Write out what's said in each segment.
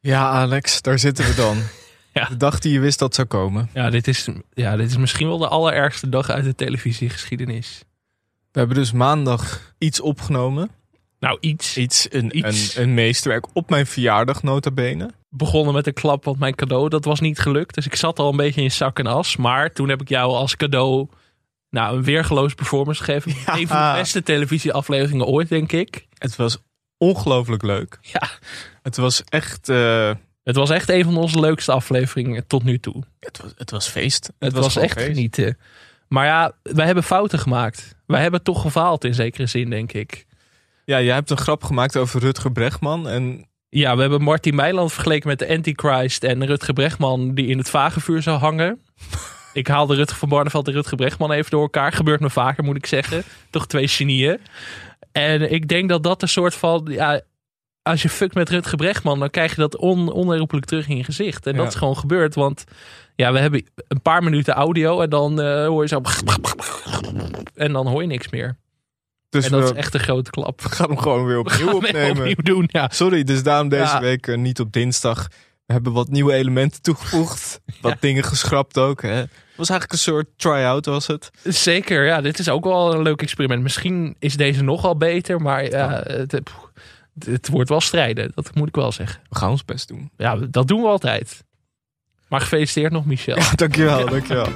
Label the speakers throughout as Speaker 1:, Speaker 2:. Speaker 1: Ja, Alex, daar zitten we dan.
Speaker 2: Ja.
Speaker 1: De dag die je wist dat zou komen.
Speaker 2: Ja dit, is, ja, dit is misschien wel de allerergste dag uit de televisiegeschiedenis.
Speaker 1: We hebben dus maandag iets opgenomen.
Speaker 2: Nou, iets.
Speaker 1: Iets, een,
Speaker 2: Iets.
Speaker 1: Een, een meesterwerk op mijn verjaardag nota bene.
Speaker 2: Begonnen met een klap, want mijn cadeau, dat was niet gelukt. Dus ik zat al een beetje in zak en as. Maar toen heb ik jou als cadeau nou, een weergeloos performance gegeven.
Speaker 1: Ja.
Speaker 2: Een van de beste televisieafleveringen ooit, denk ik.
Speaker 1: Het was ongelooflijk leuk.
Speaker 2: Ja,
Speaker 1: Het was echt... eh,
Speaker 2: het was echt een van onze leukste afleveringen tot nu toe.
Speaker 1: het, was, het was feest.
Speaker 2: Het, was,
Speaker 1: gewoon
Speaker 2: echt
Speaker 1: feest.
Speaker 2: genieten. Maar ja, wij hebben fouten gemaakt. Wij hebben toch gefaald in zekere zin, denk ik.
Speaker 1: Ja, jij hebt een grap gemaakt over Rutger Bregman. En
Speaker 2: Ja, we hebben Martin Meiland vergeleken met de Antichrist en Rutger Bregman die in het vagevuur zou hangen. Ik haalde Rutger van Barneveld en Rutger Bregman even door elkaar. Gebeurt me vaker, moet ik zeggen. Toch twee genieën. En ik denk dat dat een soort van... Ja, als je fuckt met Rutger Bregman, dan krijg je dat on, onherroepelijk terug in je gezicht. En dat
Speaker 1: Ja.
Speaker 2: is gewoon gebeurd, want ja, we hebben een paar minuten audio en dan eh, hoor je zo... En dan hoor je niks meer.
Speaker 1: dus
Speaker 2: en dat
Speaker 1: we
Speaker 2: is echt een grote klap.
Speaker 1: gaan hem gewoon weer opnieuw
Speaker 2: Gaan we
Speaker 1: opnemen.
Speaker 2: opnieuw doen, ja.
Speaker 1: Sorry, dus daarom deze
Speaker 2: Ja.
Speaker 1: week eh, niet op dinsdag. We hebben wat nieuwe elementen toegevoegd. Wat dingen geschrapt ook. Hè. Het was eigenlijk een soort try-out was het.
Speaker 2: Zeker, ja, dit is ook wel een leuk experiment. Misschien is deze nogal beter, maar ja, het, pff, het wordt wel strijden. Dat moet ik wel zeggen.
Speaker 1: We gaan ons best doen.
Speaker 2: Ja, dat doen we altijd. Maar gefeliciteerd nog, Michel.
Speaker 1: Ja, dankjewel, dankjewel.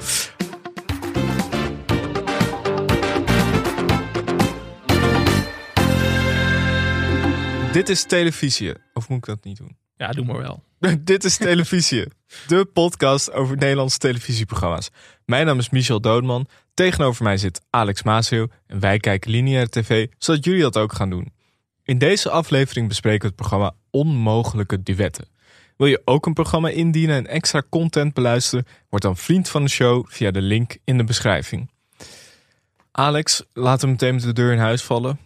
Speaker 1: Dit is televisie. Of moet ik dat niet doen?
Speaker 2: Ja, doe maar wel.
Speaker 1: Dit is Televisie, de podcast over Nederlandse televisieprogramma's. Mijn naam is Michel Doodman, tegenover mij zit Alex Maaseel en wij kijken lineaire tv, zodat jullie dat ook gaan doen. In deze aflevering bespreken we het programma Onmogelijke Duetten. Wil je ook een programma indienen en extra content beluisteren? Word dan vriend van de show via de link in de beschrijving. Alex, laten we meteen met de deur in huis vallen.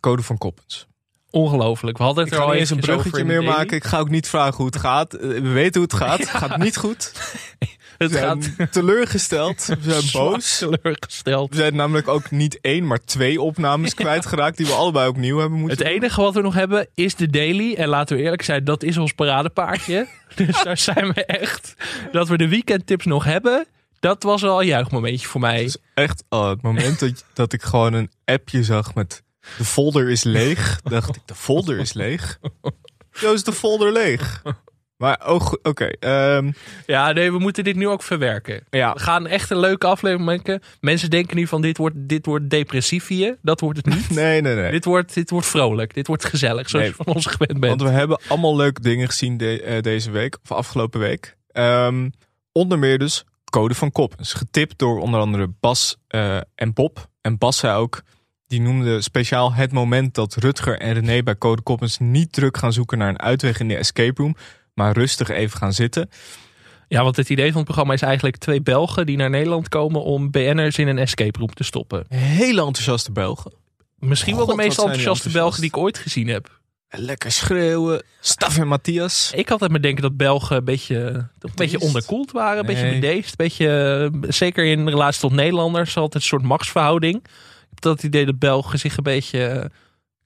Speaker 1: Code van Koppens.
Speaker 2: Ongelooflijk. We hadden het
Speaker 1: Ik
Speaker 2: er
Speaker 1: ga
Speaker 2: al
Speaker 1: niet eens een
Speaker 2: eventjes
Speaker 1: bruggetje
Speaker 2: over in
Speaker 1: meer
Speaker 2: de daily.
Speaker 1: maken. Ik ga ook niet vragen hoe het gaat. Eh, We weten hoe het gaat. Het gaat niet goed.
Speaker 2: Het
Speaker 1: We zijn
Speaker 2: gaat
Speaker 1: teleurgesteld. We zijn boos.
Speaker 2: zwaar teleurgesteld.
Speaker 1: We zijn namelijk ook niet één, maar twee opnames kwijtgeraakt. Die we allebei opnieuw hebben moeten
Speaker 2: Het enige wat we nog hebben is de daily. En laten we eerlijk zijn, dat is ons paradepaardje. dus daar zijn we echt. Dat we de weekendtips nog hebben, dat was wel een juichmomentje voor mij.
Speaker 1: Het is echt oh, het moment dat, dat ik gewoon een appje zag met de folder is leeg. Dacht ik, de folder is leeg? Zo is de folder leeg. Maar oh, goed, oké. ehm,
Speaker 2: Ja, nee, we moeten dit nu ook verwerken.
Speaker 1: ja,
Speaker 2: We gaan echt een leuke aflevering maken. Mensen denken nu van dit wordt, dit wordt depressief hier. Dat wordt het niet.
Speaker 1: nee, nee, nee.
Speaker 2: Dit, wordt, dit wordt vrolijk. Dit wordt gezellig, zoals
Speaker 1: Nee.
Speaker 2: je van ons gewend bent.
Speaker 1: Want we hebben allemaal leuke dingen gezien de- eh, deze week, of afgelopen week. Ehm, onder meer dus Code van Koppens. Getipt door onder andere Bas eh, en Bob. En Bas zei ook, die noemde speciaal het moment dat Rutger en René bij Code Koppens niet druk gaan zoeken naar een uitweg in de escape room. Maar rustig even gaan zitten.
Speaker 2: Ja, want het idee van het programma is eigenlijk twee Belgen die naar Nederland komen om BN'ers in een escape room te stoppen.
Speaker 1: Hele enthousiaste Belgen.
Speaker 2: Misschien wel
Speaker 1: Oh, God,
Speaker 2: de meest
Speaker 1: wat zijn die
Speaker 2: enthousiaste Belgen die ik ooit gezien heb.
Speaker 1: Lekker schreeuwen. Staf en Matthias.
Speaker 2: Ik had het me denken dat Belgen een beetje, toch een beetje onderkoeld waren, een beetje
Speaker 1: Nee.
Speaker 2: bedeesd. een Beetje, eh, zeker in relatie tot Nederlanders, altijd een soort machtsverhouding. Ik heb dat idee dat Belgen zich een beetje eh,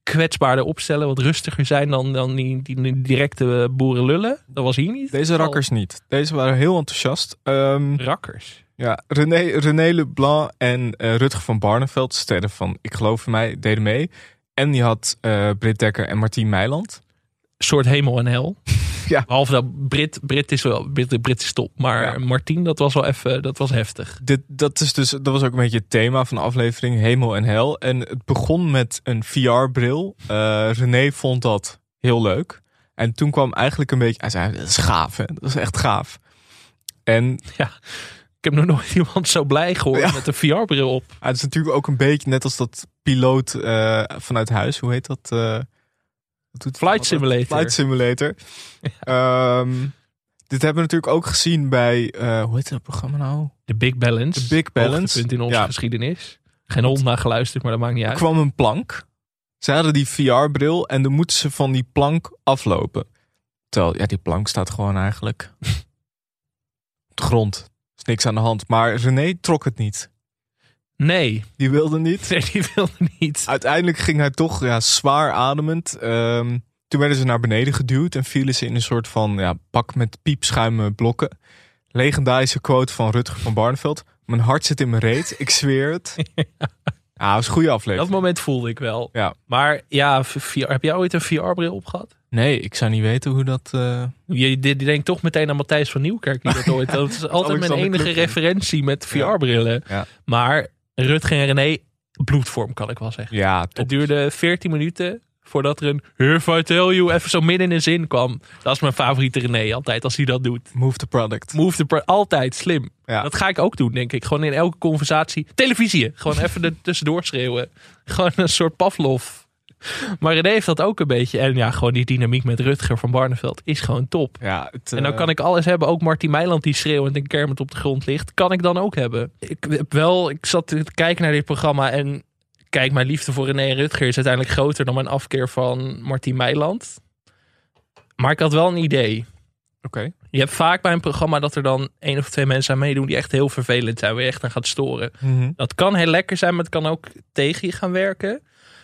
Speaker 2: kwetsbaarder opstellen, wat rustiger zijn dan, dan die, die, die directe boeren lullen. Dat was hier niet.
Speaker 1: Deze rakkers niet. Deze waren heel enthousiast. Ehm,
Speaker 2: Rakkers.
Speaker 1: Ja, René, René Leblanc en eh, Rutger van Barneveld, sterren van Ik Geloof in Mij, deden mee. En die had eh Britt Dekker en Martien Meiland.
Speaker 2: Een soort hemel en hel.
Speaker 1: Ja.
Speaker 2: Behalve dat Brit, Brit is wel Brit, de Brit is top, maar
Speaker 1: Ja.
Speaker 2: Martien, dat was wel even, dat was heftig.
Speaker 1: Dit, dat, is dus, dat was ook een beetje het thema van de aflevering Hemel en Hel. En het begon met een VR-bril. Eh, René vond dat heel leuk. En toen kwam eigenlijk een beetje... Hij zei, dat is gaaf, hè? Dat is echt gaaf. En
Speaker 2: Ik heb nog nooit iemand zo blij gehoord
Speaker 1: Ja.
Speaker 2: met een VR-bril op.
Speaker 1: ah, het is natuurlijk ook een beetje net als dat piloot eh, vanuit huis. Hoe heet dat? eh, wat doet-
Speaker 2: Flight
Speaker 1: wat-
Speaker 2: Simulator.
Speaker 1: Flight Simulator. Ehm, dit hebben we natuurlijk ook gezien bij, eh, hoe heet dat programma nou?
Speaker 2: De Big Balance.
Speaker 1: De Big Balance.
Speaker 2: Hoogtepunt in onze
Speaker 1: Ja.
Speaker 2: geschiedenis. Geen hond naar geluisterd, maar dat maakt niet
Speaker 1: Er
Speaker 2: uit.
Speaker 1: kwam een plank. Ze hadden die VR-bril en dan moeten ze van die plank aflopen. Terwijl, ja, die plank staat gewoon eigenlijk op de grond. Is niks aan de hand. Maar René trok het niet.
Speaker 2: Nee,
Speaker 1: Die wilde niet.
Speaker 2: nee die wilde niet.
Speaker 1: Uiteindelijk ging hij toch ja, zwaar ademend. ehm, Toen werden ze naar beneden geduwd en vielen ze in een soort van ja, pak met piepschuimen blokken. Legendarische quote van Rutger van Barneveld. Mijn hart zit in mijn reet, ik zweer het. Ja, dat is een goede
Speaker 2: Dat
Speaker 1: aflevering.
Speaker 2: moment voelde ik wel.
Speaker 1: Ah, Ja.
Speaker 2: Maar ja, v- VR, heb jij ooit een VR-bril opgehad?
Speaker 1: Nee, ik zou niet weten hoe dat... eh,
Speaker 2: Je, je denkt toch meteen aan Matthijs van Nieuwkerk. Die dat, ooit, dat is altijd mijn
Speaker 1: Alexander
Speaker 2: enige
Speaker 1: Klupping.
Speaker 2: referentie met VR-brillen.
Speaker 1: Ja.
Speaker 2: Maar Rutger en René, bloedvorm kan ik wel zeggen.
Speaker 1: Ja, top.
Speaker 2: Het duurde 14 minuten voordat er een Here if I tell you even zo midden in een zin kwam. Dat is mijn favoriete René altijd als hij dat doet.
Speaker 1: Move the product.
Speaker 2: Move the pro- altijd slim.
Speaker 1: Ja.
Speaker 2: Dat ga ik ook doen, denk ik. Gewoon in elke conversatie. Televisie. Gewoon even er tussendoor schreeuwen. Gewoon een soort Pavlov. Maar René heeft dat ook een beetje. En ja, gewoon die dynamiek met Rutger van Barneveld is gewoon top.
Speaker 1: Ja, het,
Speaker 2: En dan
Speaker 1: eh,
Speaker 2: kan ik alles hebben. Ook Martin Meiland die schreeuwend en kermend op de grond ligt. Kan ik dan ook hebben. Ik heb wel, ik zat te kijken naar dit programma en... Kijk, mijn liefde voor René en Rutger is uiteindelijk groter dan mijn afkeer van Martin Meiland. Maar ik had wel een idee.
Speaker 1: Oké.
Speaker 2: Je hebt vaak bij een programma dat er dan één of twee mensen aan meedoen die echt heel vervelend zijn, waar je echt aan gaat storen.
Speaker 1: Mhm.
Speaker 2: Dat kan heel lekker zijn, maar het kan ook tegen je gaan werken.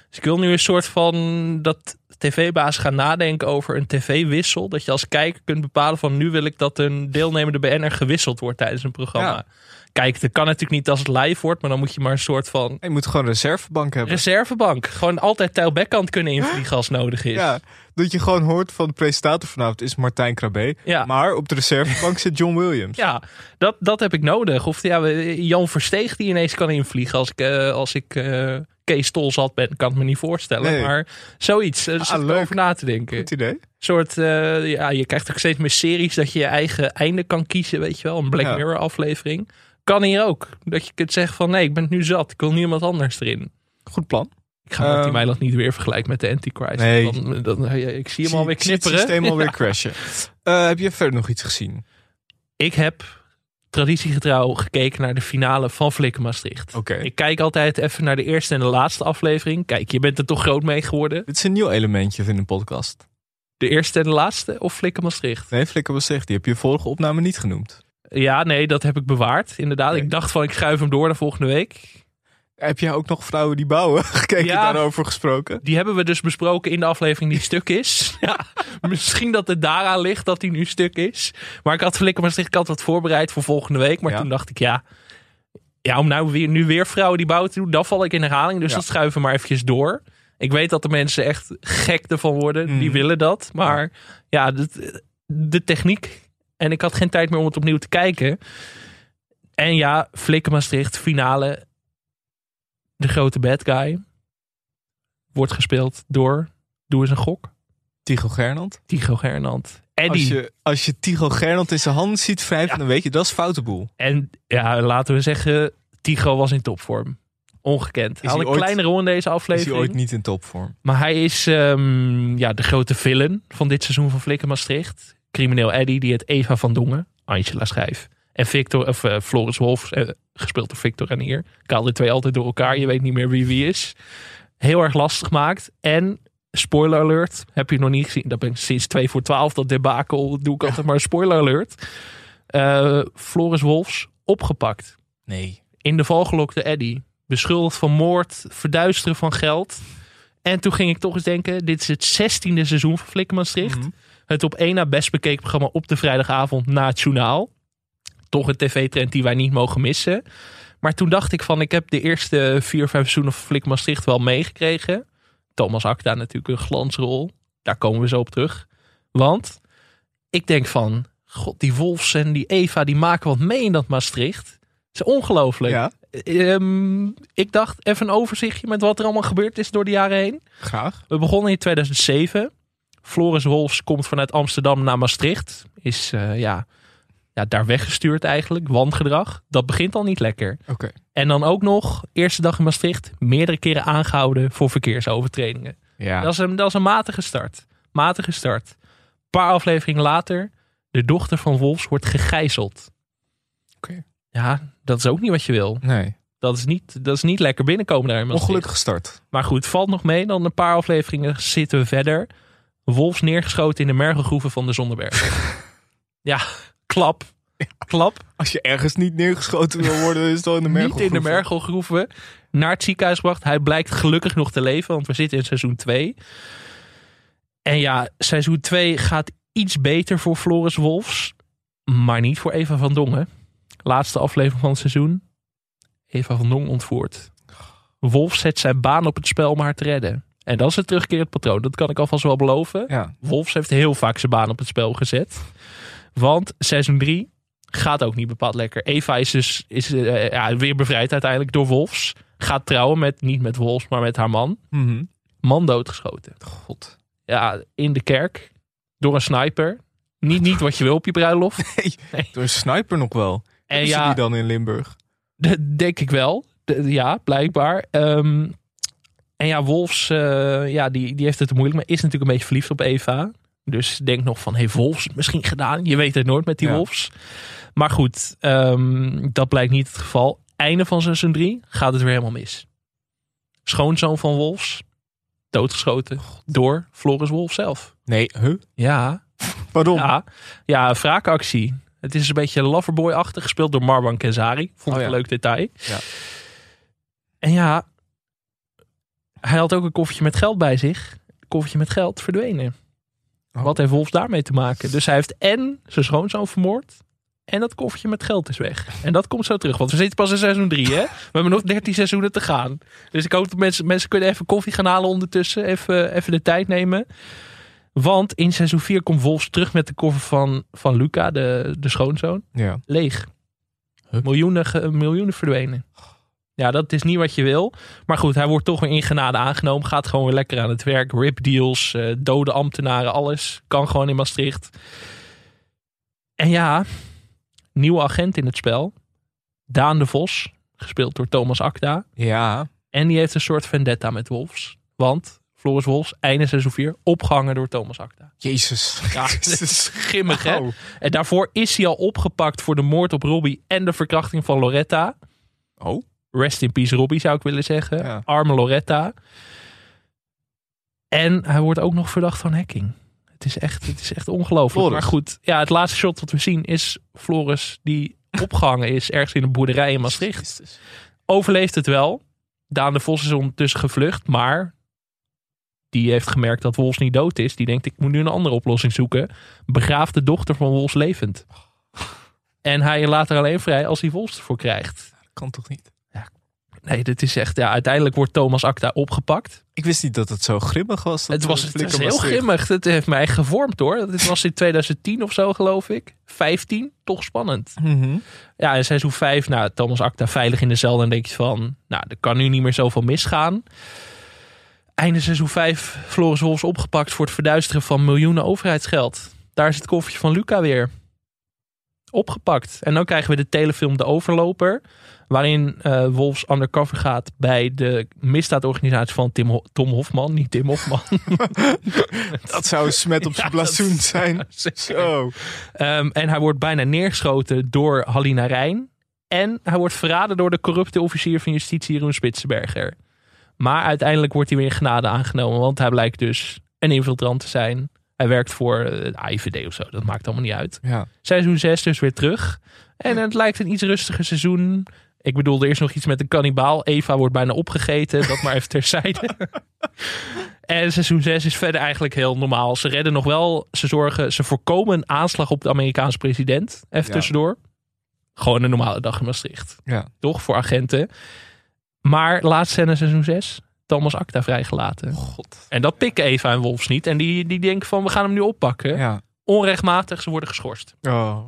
Speaker 2: Dus ik wil nu een soort van dat tv-baas gaan nadenken over een tv-wissel. Dat je als kijker kunt bepalen van nu wil ik dat een deelnemende BN'er gewisseld wordt tijdens een programma.
Speaker 1: Ja.
Speaker 2: Kijk, dat kan natuurlijk niet als het live wordt, maar dan moet je maar een soort van
Speaker 1: Je moet gewoon een reservebank hebben.
Speaker 2: reservebank. Gewoon altijd tijl backhand kunnen invliegen als nodig is.
Speaker 1: Ja, dat je gewoon hoort van de presentator vanavond is Martijn Krabbe.
Speaker 2: Ja.
Speaker 1: Maar op de reservebank zit John Williams.
Speaker 2: Ja, dat, dat heb ik nodig. Of ja, we- Jan Versteeg die ineens kan invliegen als ik, eh, als ik eh, Kees Tol zat ben. Kan het me niet voorstellen.
Speaker 1: Nee. Ah,
Speaker 2: Maar zoiets. eh, Er zit ik
Speaker 1: leuk.
Speaker 2: over na te denken. Een
Speaker 1: Goed idee.
Speaker 2: soort, eh, ja, je krijgt ook steeds meer series dat je je eigen einde kan kiezen, weet je wel. Een Black
Speaker 1: Ja.
Speaker 2: Mirror aflevering. Kan hier ook. Dat je kunt zeggen van nee, ik ben het nu zat. Ik wil niemand anders erin.
Speaker 1: Goed plan.
Speaker 2: Ik ga Martin
Speaker 1: Ehm.
Speaker 2: Meiland niet weer vergelijken met de Antichrist.
Speaker 1: Nee.
Speaker 2: Dan, dan, eh, ik zie hem alweer
Speaker 1: Zie- zie het
Speaker 2: knipperen.
Speaker 1: systeem alweer crashen. Eh, heb je verder nog iets gezien?
Speaker 2: Ik heb traditiegetrouw gekeken naar de finale van Flikken Maastricht.
Speaker 1: Oké.
Speaker 2: Ik kijk altijd even naar de eerste en de laatste aflevering. Kijk, je bent er toch groot mee geworden.
Speaker 1: Dit is een nieuw elementje in de podcast.
Speaker 2: De eerste en de laatste of Flikken Maastricht?
Speaker 1: Nee, Flikker was echt. Die heb je vorige opname niet genoemd.
Speaker 2: Ja, nee, dat heb ik bewaard. Inderdaad,
Speaker 1: Oké.
Speaker 2: ik dacht van ik schuif hem door naar volgende week.
Speaker 1: Heb jij ook nog vrouwen die bouwen? Gekeken
Speaker 2: Ja.
Speaker 1: daarover gesproken?
Speaker 2: Die hebben we dus besproken in de aflevering die stuk is. Ja, misschien dat het daaraan ligt dat hij nu stuk is. Maar ik had Flikken Maastricht ik had wat voorbereid voor volgende week. Maar
Speaker 1: Ja.
Speaker 2: toen dacht ik, ja, ja om nou weer, nu weer vrouwen die bouwen te doen, dan val ik in herhaling. Dus
Speaker 1: Ja.
Speaker 2: dat schuiven we maar eventjes door. Ik weet dat de mensen echt gek ervan worden. Die
Speaker 1: Mm.
Speaker 2: willen dat. Maar ja, de, de techniek. En ik had geen tijd meer om het opnieuw te kijken. En ja, Flikken Maastricht, finale. De grote bad guy. Wordt gespeeld door, doe eens een gok,
Speaker 1: Tigo Gernand.
Speaker 2: Tigo Gernand.
Speaker 1: Als
Speaker 2: Eddie.
Speaker 1: je, als je Tigo Gernand in zijn handen ziet wrijven,
Speaker 2: Ja.
Speaker 1: dan weet je dat is foute boel.
Speaker 2: En ja, laten we zeggen, Tigo was in topvorm. Ongekend. Hij had
Speaker 1: hij
Speaker 2: een
Speaker 1: ooit-
Speaker 2: kleine rol in deze
Speaker 1: Is hij
Speaker 2: aflevering.
Speaker 1: ooit niet in topvorm?
Speaker 2: Maar hij is ehm, ja, de grote villain van dit seizoen van Flikken Maastricht. Crimineel Eddie, die het Eva van Dongen, Angela Schrijf. En Victor, of, eh, Floris Wolf, eh, gespeeld door Victor en hier. Ik haal de twee altijd door elkaar, je weet niet meer wie wie is. Heel erg lastig maakt. En, spoiler alert, heb je nog niet gezien. Dat ben ik sinds 2 voor 12, dat debakel, doe ik altijd maar een spoiler alert. Eh, Floris Wolfs opgepakt
Speaker 1: Nee.
Speaker 2: in de val gelokte Eddie. Beschuldigd van moord, verduisteren van geld. En toen ging ik toch eens denken, dit is het zestiende seizoen van Flikken Maastricht.
Speaker 1: Mhm.
Speaker 2: Het op één na best bekeken programma op de vrijdagavond na het journaal. Toch een tv-trend die wij niet mogen missen. Maar toen dacht ik van, ik heb de eerste vier, vijf seizoenen van Flikken Maastricht wel meegekregen. Thomas Akda natuurlijk een glansrol. Daar komen we zo op terug. Want ik denk van, god, die Wolfs en die Eva, die maken wat mee in dat Maastricht. Het is ongelooflijk.
Speaker 1: Ja,
Speaker 2: Ehm, ik dacht even een overzichtje met wat er allemaal gebeurd is door de jaren heen.
Speaker 1: graag.
Speaker 2: We begonnen in 2007. Floris Wolfs komt vanuit Amsterdam naar Maastricht. Is eh, ja, ja, daar weggestuurd eigenlijk. Wangedrag. Dat begint al niet lekker.
Speaker 1: Oké.
Speaker 2: En dan ook nog, eerste dag in Maastricht, meerdere keren aangehouden voor verkeersovertredingen.
Speaker 1: Ja.
Speaker 2: Dat, is een, dat is een matige start. Matige start. paar afleveringen later, de dochter van Wolfs wordt gegijzeld.
Speaker 1: Oké.
Speaker 2: Ja, dat is ook niet wat je wil.
Speaker 1: Nee.
Speaker 2: Dat is niet, dat is niet lekker binnenkomen daar in Maastricht.
Speaker 1: Ongelukkig start.
Speaker 2: Maar goed, valt nog mee. Dan een paar afleveringen zitten we verder. Wolfs neergeschoten in de mergelgroeven van de Zonderberg. ja, klap. Klap.
Speaker 1: Als je ergens niet neergeschoten wil worden, is het wel in de merg.
Speaker 2: Niet in de mergelgroeven. Naar het ziekenhuis gebracht. Hij blijkt gelukkig nog te leven, want we zitten in seizoen 2. En ja, seizoen 2 gaat iets beter voor Floris Wolfs. Maar niet voor Eva van Dongen. Laatste aflevering van het seizoen. Eva van Dong ontvoerd. Wolf zet zijn baan op het spel om haar te redden. En dat is het terugkerend patroon. Dat kan ik alvast wel beloven.
Speaker 1: Ja.
Speaker 2: Wolfs heeft heel vaak zijn baan op het spel gezet. Want seizoen 3 gaat ook niet bepaald lekker. Eva is dus is, eh, ja, weer bevrijd uiteindelijk door Wolfs. Gaat trouwen met, niet met Wolfs, maar met haar man.
Speaker 1: Mhm.
Speaker 2: Man doodgeschoten.
Speaker 1: God.
Speaker 2: Ja, in de kerk. Door een sniper. Niet, niet wat je wil op je bruiloft.
Speaker 1: Door een sniper nog wel.
Speaker 2: En
Speaker 1: Is
Speaker 2: ja,
Speaker 1: die dan in Limburg?
Speaker 2: de- denk ik wel. De- ja, blijkbaar. Ehm, en ja, Wolfs, eh, ja, die, die heeft het moeilijk. Maar is natuurlijk een beetje verliefd op Eva. Dus denk nog van, heeft Wolfs het misschien gedaan? Je weet het nooit met die
Speaker 1: Ja.
Speaker 2: Wolfs. Maar goed, ehm, dat blijkt niet het geval. Einde van seizoen 3 gaat het weer helemaal mis. Schoonzoon van Wolfs, doodgeschoten door Floris Wolf zelf.
Speaker 1: Nee, huh?
Speaker 2: Ja,
Speaker 1: Pardon.
Speaker 2: Ja, ja, wraakactie. Het is een beetje Loverboy-achtig, gespeeld door Marwan Kenzari. Vond
Speaker 1: Oh
Speaker 2: ik
Speaker 1: ja.
Speaker 2: een leuk detail.
Speaker 1: Ja.
Speaker 2: En ja, hij had ook een koffertje met geld bij zich. Koffertje met geld verdwenen.
Speaker 1: Oh.
Speaker 2: Wat heeft Wolfs daarmee te maken? Dus hij heeft en zijn schoonzoon vermoord. En dat koffertje met geld is weg. En dat komt zo terug. Want we zitten pas in seizoen 3, hè? We hebben nog 13 seizoenen te gaan. Dus ik hoop dat mensen, mensen kunnen even koffie gaan halen ondertussen. Even, even de tijd nemen. Want in seizoen 4 komt Wolfs terug met de koffer van, van Luca, de, de schoonzoon.
Speaker 1: Ja.
Speaker 2: Leeg.
Speaker 1: Huh?
Speaker 2: Miljoenen, ge- miljoenen verdwenen. Ja, dat is niet wat je wil. Maar goed, hij wordt toch weer in genade aangenomen. Gaat gewoon weer lekker aan het werk. Rip deals, eh, dode ambtenaren, alles. Kan gewoon in Maastricht. En ja, nieuwe agent in het spel. Daan de Vos, gespeeld door Thomas Akda.
Speaker 1: Ja.
Speaker 2: En die heeft een soort vendetta met Wolfs. Want Floris Wolfs, einde seizoen 4, opgehangen door Thomas Akda.
Speaker 1: Jezus.
Speaker 2: Ja, dat is
Speaker 1: Jezus.
Speaker 2: schimmig, hè?
Speaker 1: Oh.
Speaker 2: En daarvoor is hij al opgepakt voor de moord op Robbie en de verkrachting van Loretta.
Speaker 1: Oh.
Speaker 2: Rest in peace Robbie zou ik willen zeggen.
Speaker 1: Ja.
Speaker 2: Arme Loretta. En hij wordt ook nog verdacht van hacking. Het is echt, het is echt ongelooflijk.
Speaker 1: Floris.
Speaker 2: Maar goed, ja, het laatste shot dat we zien is Floris die opgehangen is ergens in een boerderij in Maastricht.
Speaker 1: Jezus.
Speaker 2: Overleeft het wel. Daan de Vos is ondertussen gevlucht, maar die heeft gemerkt dat Wolfs niet dood is. Die denkt, ik moet nu een andere oplossing zoeken. Begraaf de dochter van Wolfs levend. En hij laat haar alleen vrij als hij Wolfs ervoor krijgt.
Speaker 1: Dat kan toch niet?
Speaker 2: Nee, dit is echt... Ja, uiteindelijk wordt Thomas Acta opgepakt.
Speaker 1: Ik wist niet dat het zo grimmig was. dat
Speaker 2: het was, het
Speaker 1: Flikker
Speaker 2: was heel
Speaker 1: Maastricht.
Speaker 2: grimmig. Het heeft mij gevormd hoor. Dit was in 2010 of zo geloof ik. 15, toch spannend.
Speaker 1: Mhm.
Speaker 2: Ja, in seizoen 5, nou, Thomas Acta veilig in de cel. Dan denk je van, nou, er kan nu niet meer zoveel misgaan. Einde seizoen 5, Floris Wolfs opgepakt voor het verduisteren van miljoenen overheidsgeld. Daar is het koffertje van Luca weer. Opgepakt. En dan krijgen we de telefilm De Overloper. Waarin eh, Wolfs undercover gaat bij de misdaadorganisatie van Tim Ho- Tom Hofman. Niet Tim Hofman.
Speaker 1: Dat zou een smet op zijn
Speaker 2: Ja,
Speaker 1: blazoen
Speaker 2: dat-
Speaker 1: zijn. Zo.
Speaker 2: Ehm, en hij wordt bijna neergeschoten door Halina Rijn. En hij wordt verraden door de corrupte officier van justitie Jeroen Spitsenberger. Maar uiteindelijk wordt hij weer in genade aangenomen. Want hij blijkt dus een infiltrant te zijn. Hij werkt voor eh, de AIVD of zo. Dat maakt allemaal niet uit.
Speaker 1: Ja.
Speaker 2: Seizoen 6 dus weer terug. En het lijkt een iets rustiger seizoen. Ik bedoel, er is nog iets met een kannibaal. Eva wordt bijna opgegeten. Dat maar even terzijde. en seizoen 6 is verder eigenlijk heel normaal. Ze redden nog wel. Ze zorgen, ze voorkomen een aanslag op de Amerikaanse president. Even
Speaker 1: Ja.
Speaker 2: tussendoor. Gewoon een normale dag in Maastricht.
Speaker 1: Ja.
Speaker 2: Toch? Voor agenten. Maar laatst scène seizoen 6. Thomas Acta vrijgelaten.
Speaker 1: God.
Speaker 2: En dat pikken Eva en Wolfs niet. En die, die denken van, we gaan hem nu oppakken.
Speaker 1: Ja.
Speaker 2: Onrechtmatig, ze worden geschorst
Speaker 1: Oh.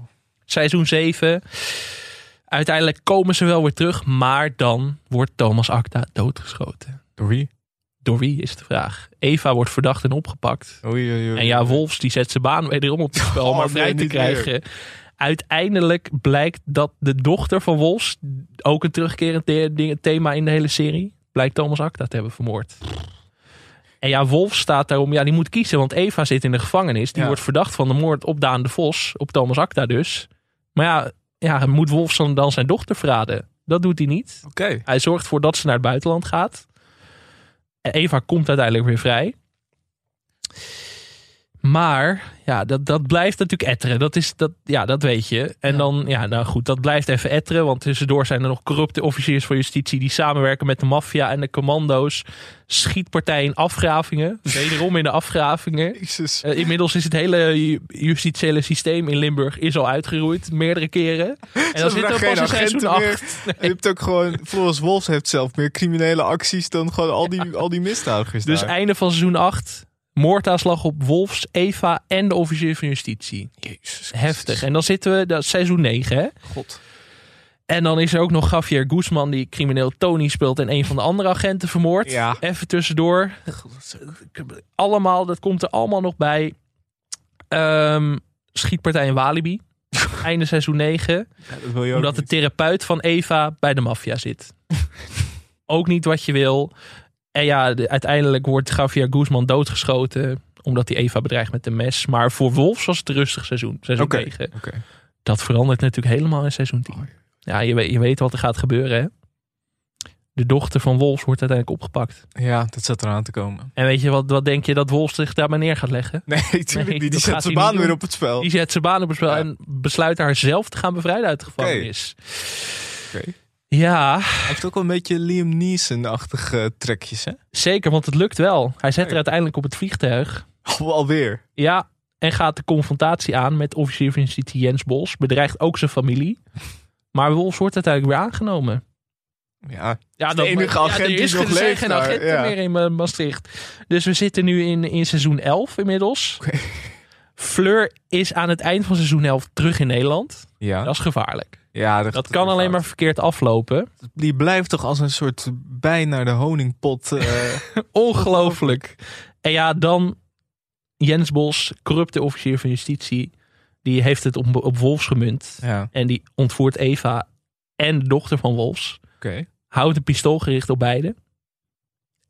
Speaker 2: seizoen 7. Uiteindelijk komen ze wel weer terug, maar dan wordt Thomas Acta doodgeschoten.
Speaker 1: Door wie?
Speaker 2: Door wie is de vraag? Eva wordt verdacht en opgepakt.
Speaker 1: Oei, oei, oei.
Speaker 2: En ja, Wolfs die zet zijn baan wederom op het spel om
Speaker 1: Oh,
Speaker 2: maar
Speaker 1: nee,
Speaker 2: vrij te
Speaker 1: niet
Speaker 2: krijgen. Uiteindelijk blijkt dat de dochter van Wolfs, ook een terugkerend the- ding- thema in de hele serie, blijkt Thomas Acta te hebben vermoord. En ja, Wolf staat daarom, ja, die moet kiezen, want Eva zit in de gevangenis. Die
Speaker 1: Ja.
Speaker 2: wordt verdacht van de moord op Daan de Vos, op Thomas Acta dus. Maar ja, ja moet Wolf dan, dan zijn dochter verraden? Dat doet hij niet.
Speaker 1: Oké.
Speaker 2: Hij zorgt ervoor dat ze naar het buitenland gaat. En Eva komt uiteindelijk weer vrij. Maar ja, dat, dat blijft natuurlijk etteren. Dat, is, dat, ja, dat weet je. En
Speaker 1: Ja.
Speaker 2: dan, ja, nou goed, dat blijft even etteren. Want tussendoor zijn er nog corrupte officiers van justitie die samenwerken met de maffia en de commando's. Schietpartijen in afgravingen. Wederom in de afgravingen.
Speaker 1: Jezus.
Speaker 2: Eh, inmiddels is het hele ju- justitiële systeem in Limburg is al uitgeroeid. Meerdere keren. En dan
Speaker 1: Ze hebben
Speaker 2: zitten we
Speaker 1: daar
Speaker 2: pas in
Speaker 1: geen
Speaker 2: seizoen
Speaker 1: agenten
Speaker 2: 8.
Speaker 1: Je hebt ook gewoon, Floris Wolfs heeft zelf meer criminele acties dan gewoon al die, al die misdadigers
Speaker 2: Dus
Speaker 1: daar.
Speaker 2: einde van seizoen 8. Moordaanslag op Wolfs, Eva en de officier van justitie.
Speaker 1: e- Jezus.
Speaker 2: Heftig. En dan zitten we, dat is seizoen 9 hè.
Speaker 1: God.
Speaker 2: En dan is er ook nog Javier Guzman die crimineel Tony speelt en een van de andere agenten vermoord.
Speaker 1: Ja.
Speaker 2: Even tussendoor. Allemaal, dat komt er allemaal nog bij. Ehm, schietpartij in Walibi. Einde seizoen 9.
Speaker 1: Ja, dat wil je ook
Speaker 2: Omdat de
Speaker 1: niet.
Speaker 2: therapeut van Eva bij de maffia zit. ook niet wat je wil. En ja, de- uiteindelijk wordt Javier Guzman doodgeschoten. Omdat hij Eva bedreigt met een mes. Maar voor Wolfs was het een rustig seizoen. Seizoen
Speaker 1: Oké.
Speaker 2: 9.
Speaker 1: Oké.
Speaker 2: Dat verandert natuurlijk helemaal in seizoen 10.
Speaker 1: Oh,
Speaker 2: Ja, je, weet- je weet wat er gaat gebeuren, hè? De dochter van Wolfs wordt uiteindelijk opgepakt.
Speaker 1: Ja, dat zat eraan te komen.
Speaker 2: En weet je wat, wat denk je dat Wolfs zich daarbij neer gaat leggen?
Speaker 1: Nee, natuurlijk
Speaker 2: Nee,
Speaker 1: niet. Die
Speaker 2: dat
Speaker 1: zet
Speaker 2: gaat
Speaker 1: zijn
Speaker 2: hij
Speaker 1: baan
Speaker 2: niet
Speaker 1: weer
Speaker 2: doen.
Speaker 1: op het spel.
Speaker 2: Die zet zijn baan op het spel
Speaker 1: Ja.
Speaker 2: en besluit haar zelf te gaan bevrijden uit de gevangenis.
Speaker 1: Oké.
Speaker 2: Ja,
Speaker 1: Hij heeft ook wel een beetje Liam Neeson-achtige trekjes, hè?
Speaker 2: zeker, want het lukt wel. Hij zet
Speaker 1: Hey.
Speaker 2: er uiteindelijk op het vliegtuig.
Speaker 1: Oh, alweer.
Speaker 2: Ja, en gaat de confrontatie aan met officier van justitie Jens Bos. Bedreigt ook zijn familie. Maar Wolfs wordt uiteindelijk weer aangenomen.
Speaker 1: Ja,
Speaker 2: Ja,
Speaker 1: is de enige agent
Speaker 2: er
Speaker 1: die
Speaker 2: is
Speaker 1: nog
Speaker 2: er zijn
Speaker 1: leeft
Speaker 2: geen
Speaker 1: daar,
Speaker 2: agenten
Speaker 1: ja.
Speaker 2: meer in Ma- Maastricht. Dus we zitten nu in, in seizoen 11 inmiddels.
Speaker 1: Oké.
Speaker 2: Fleur is aan het eind van seizoen 11 terug in Nederland.
Speaker 1: ja.
Speaker 2: Dat is gevaarlijk.
Speaker 1: ja
Speaker 2: Dat kan alleen maar verkeerd aflopen.
Speaker 1: Die blijft toch als een soort bij naar de honingpot. eh,
Speaker 2: Ongelooflijk. En ja, dan Jens Bos, corrupte officier van justitie. Die heeft het op, op Wolfs gemunt.
Speaker 1: ja, oké.
Speaker 2: En die ontvoert Eva en de dochter van Wolfs. Houdt een pistool gericht op beide.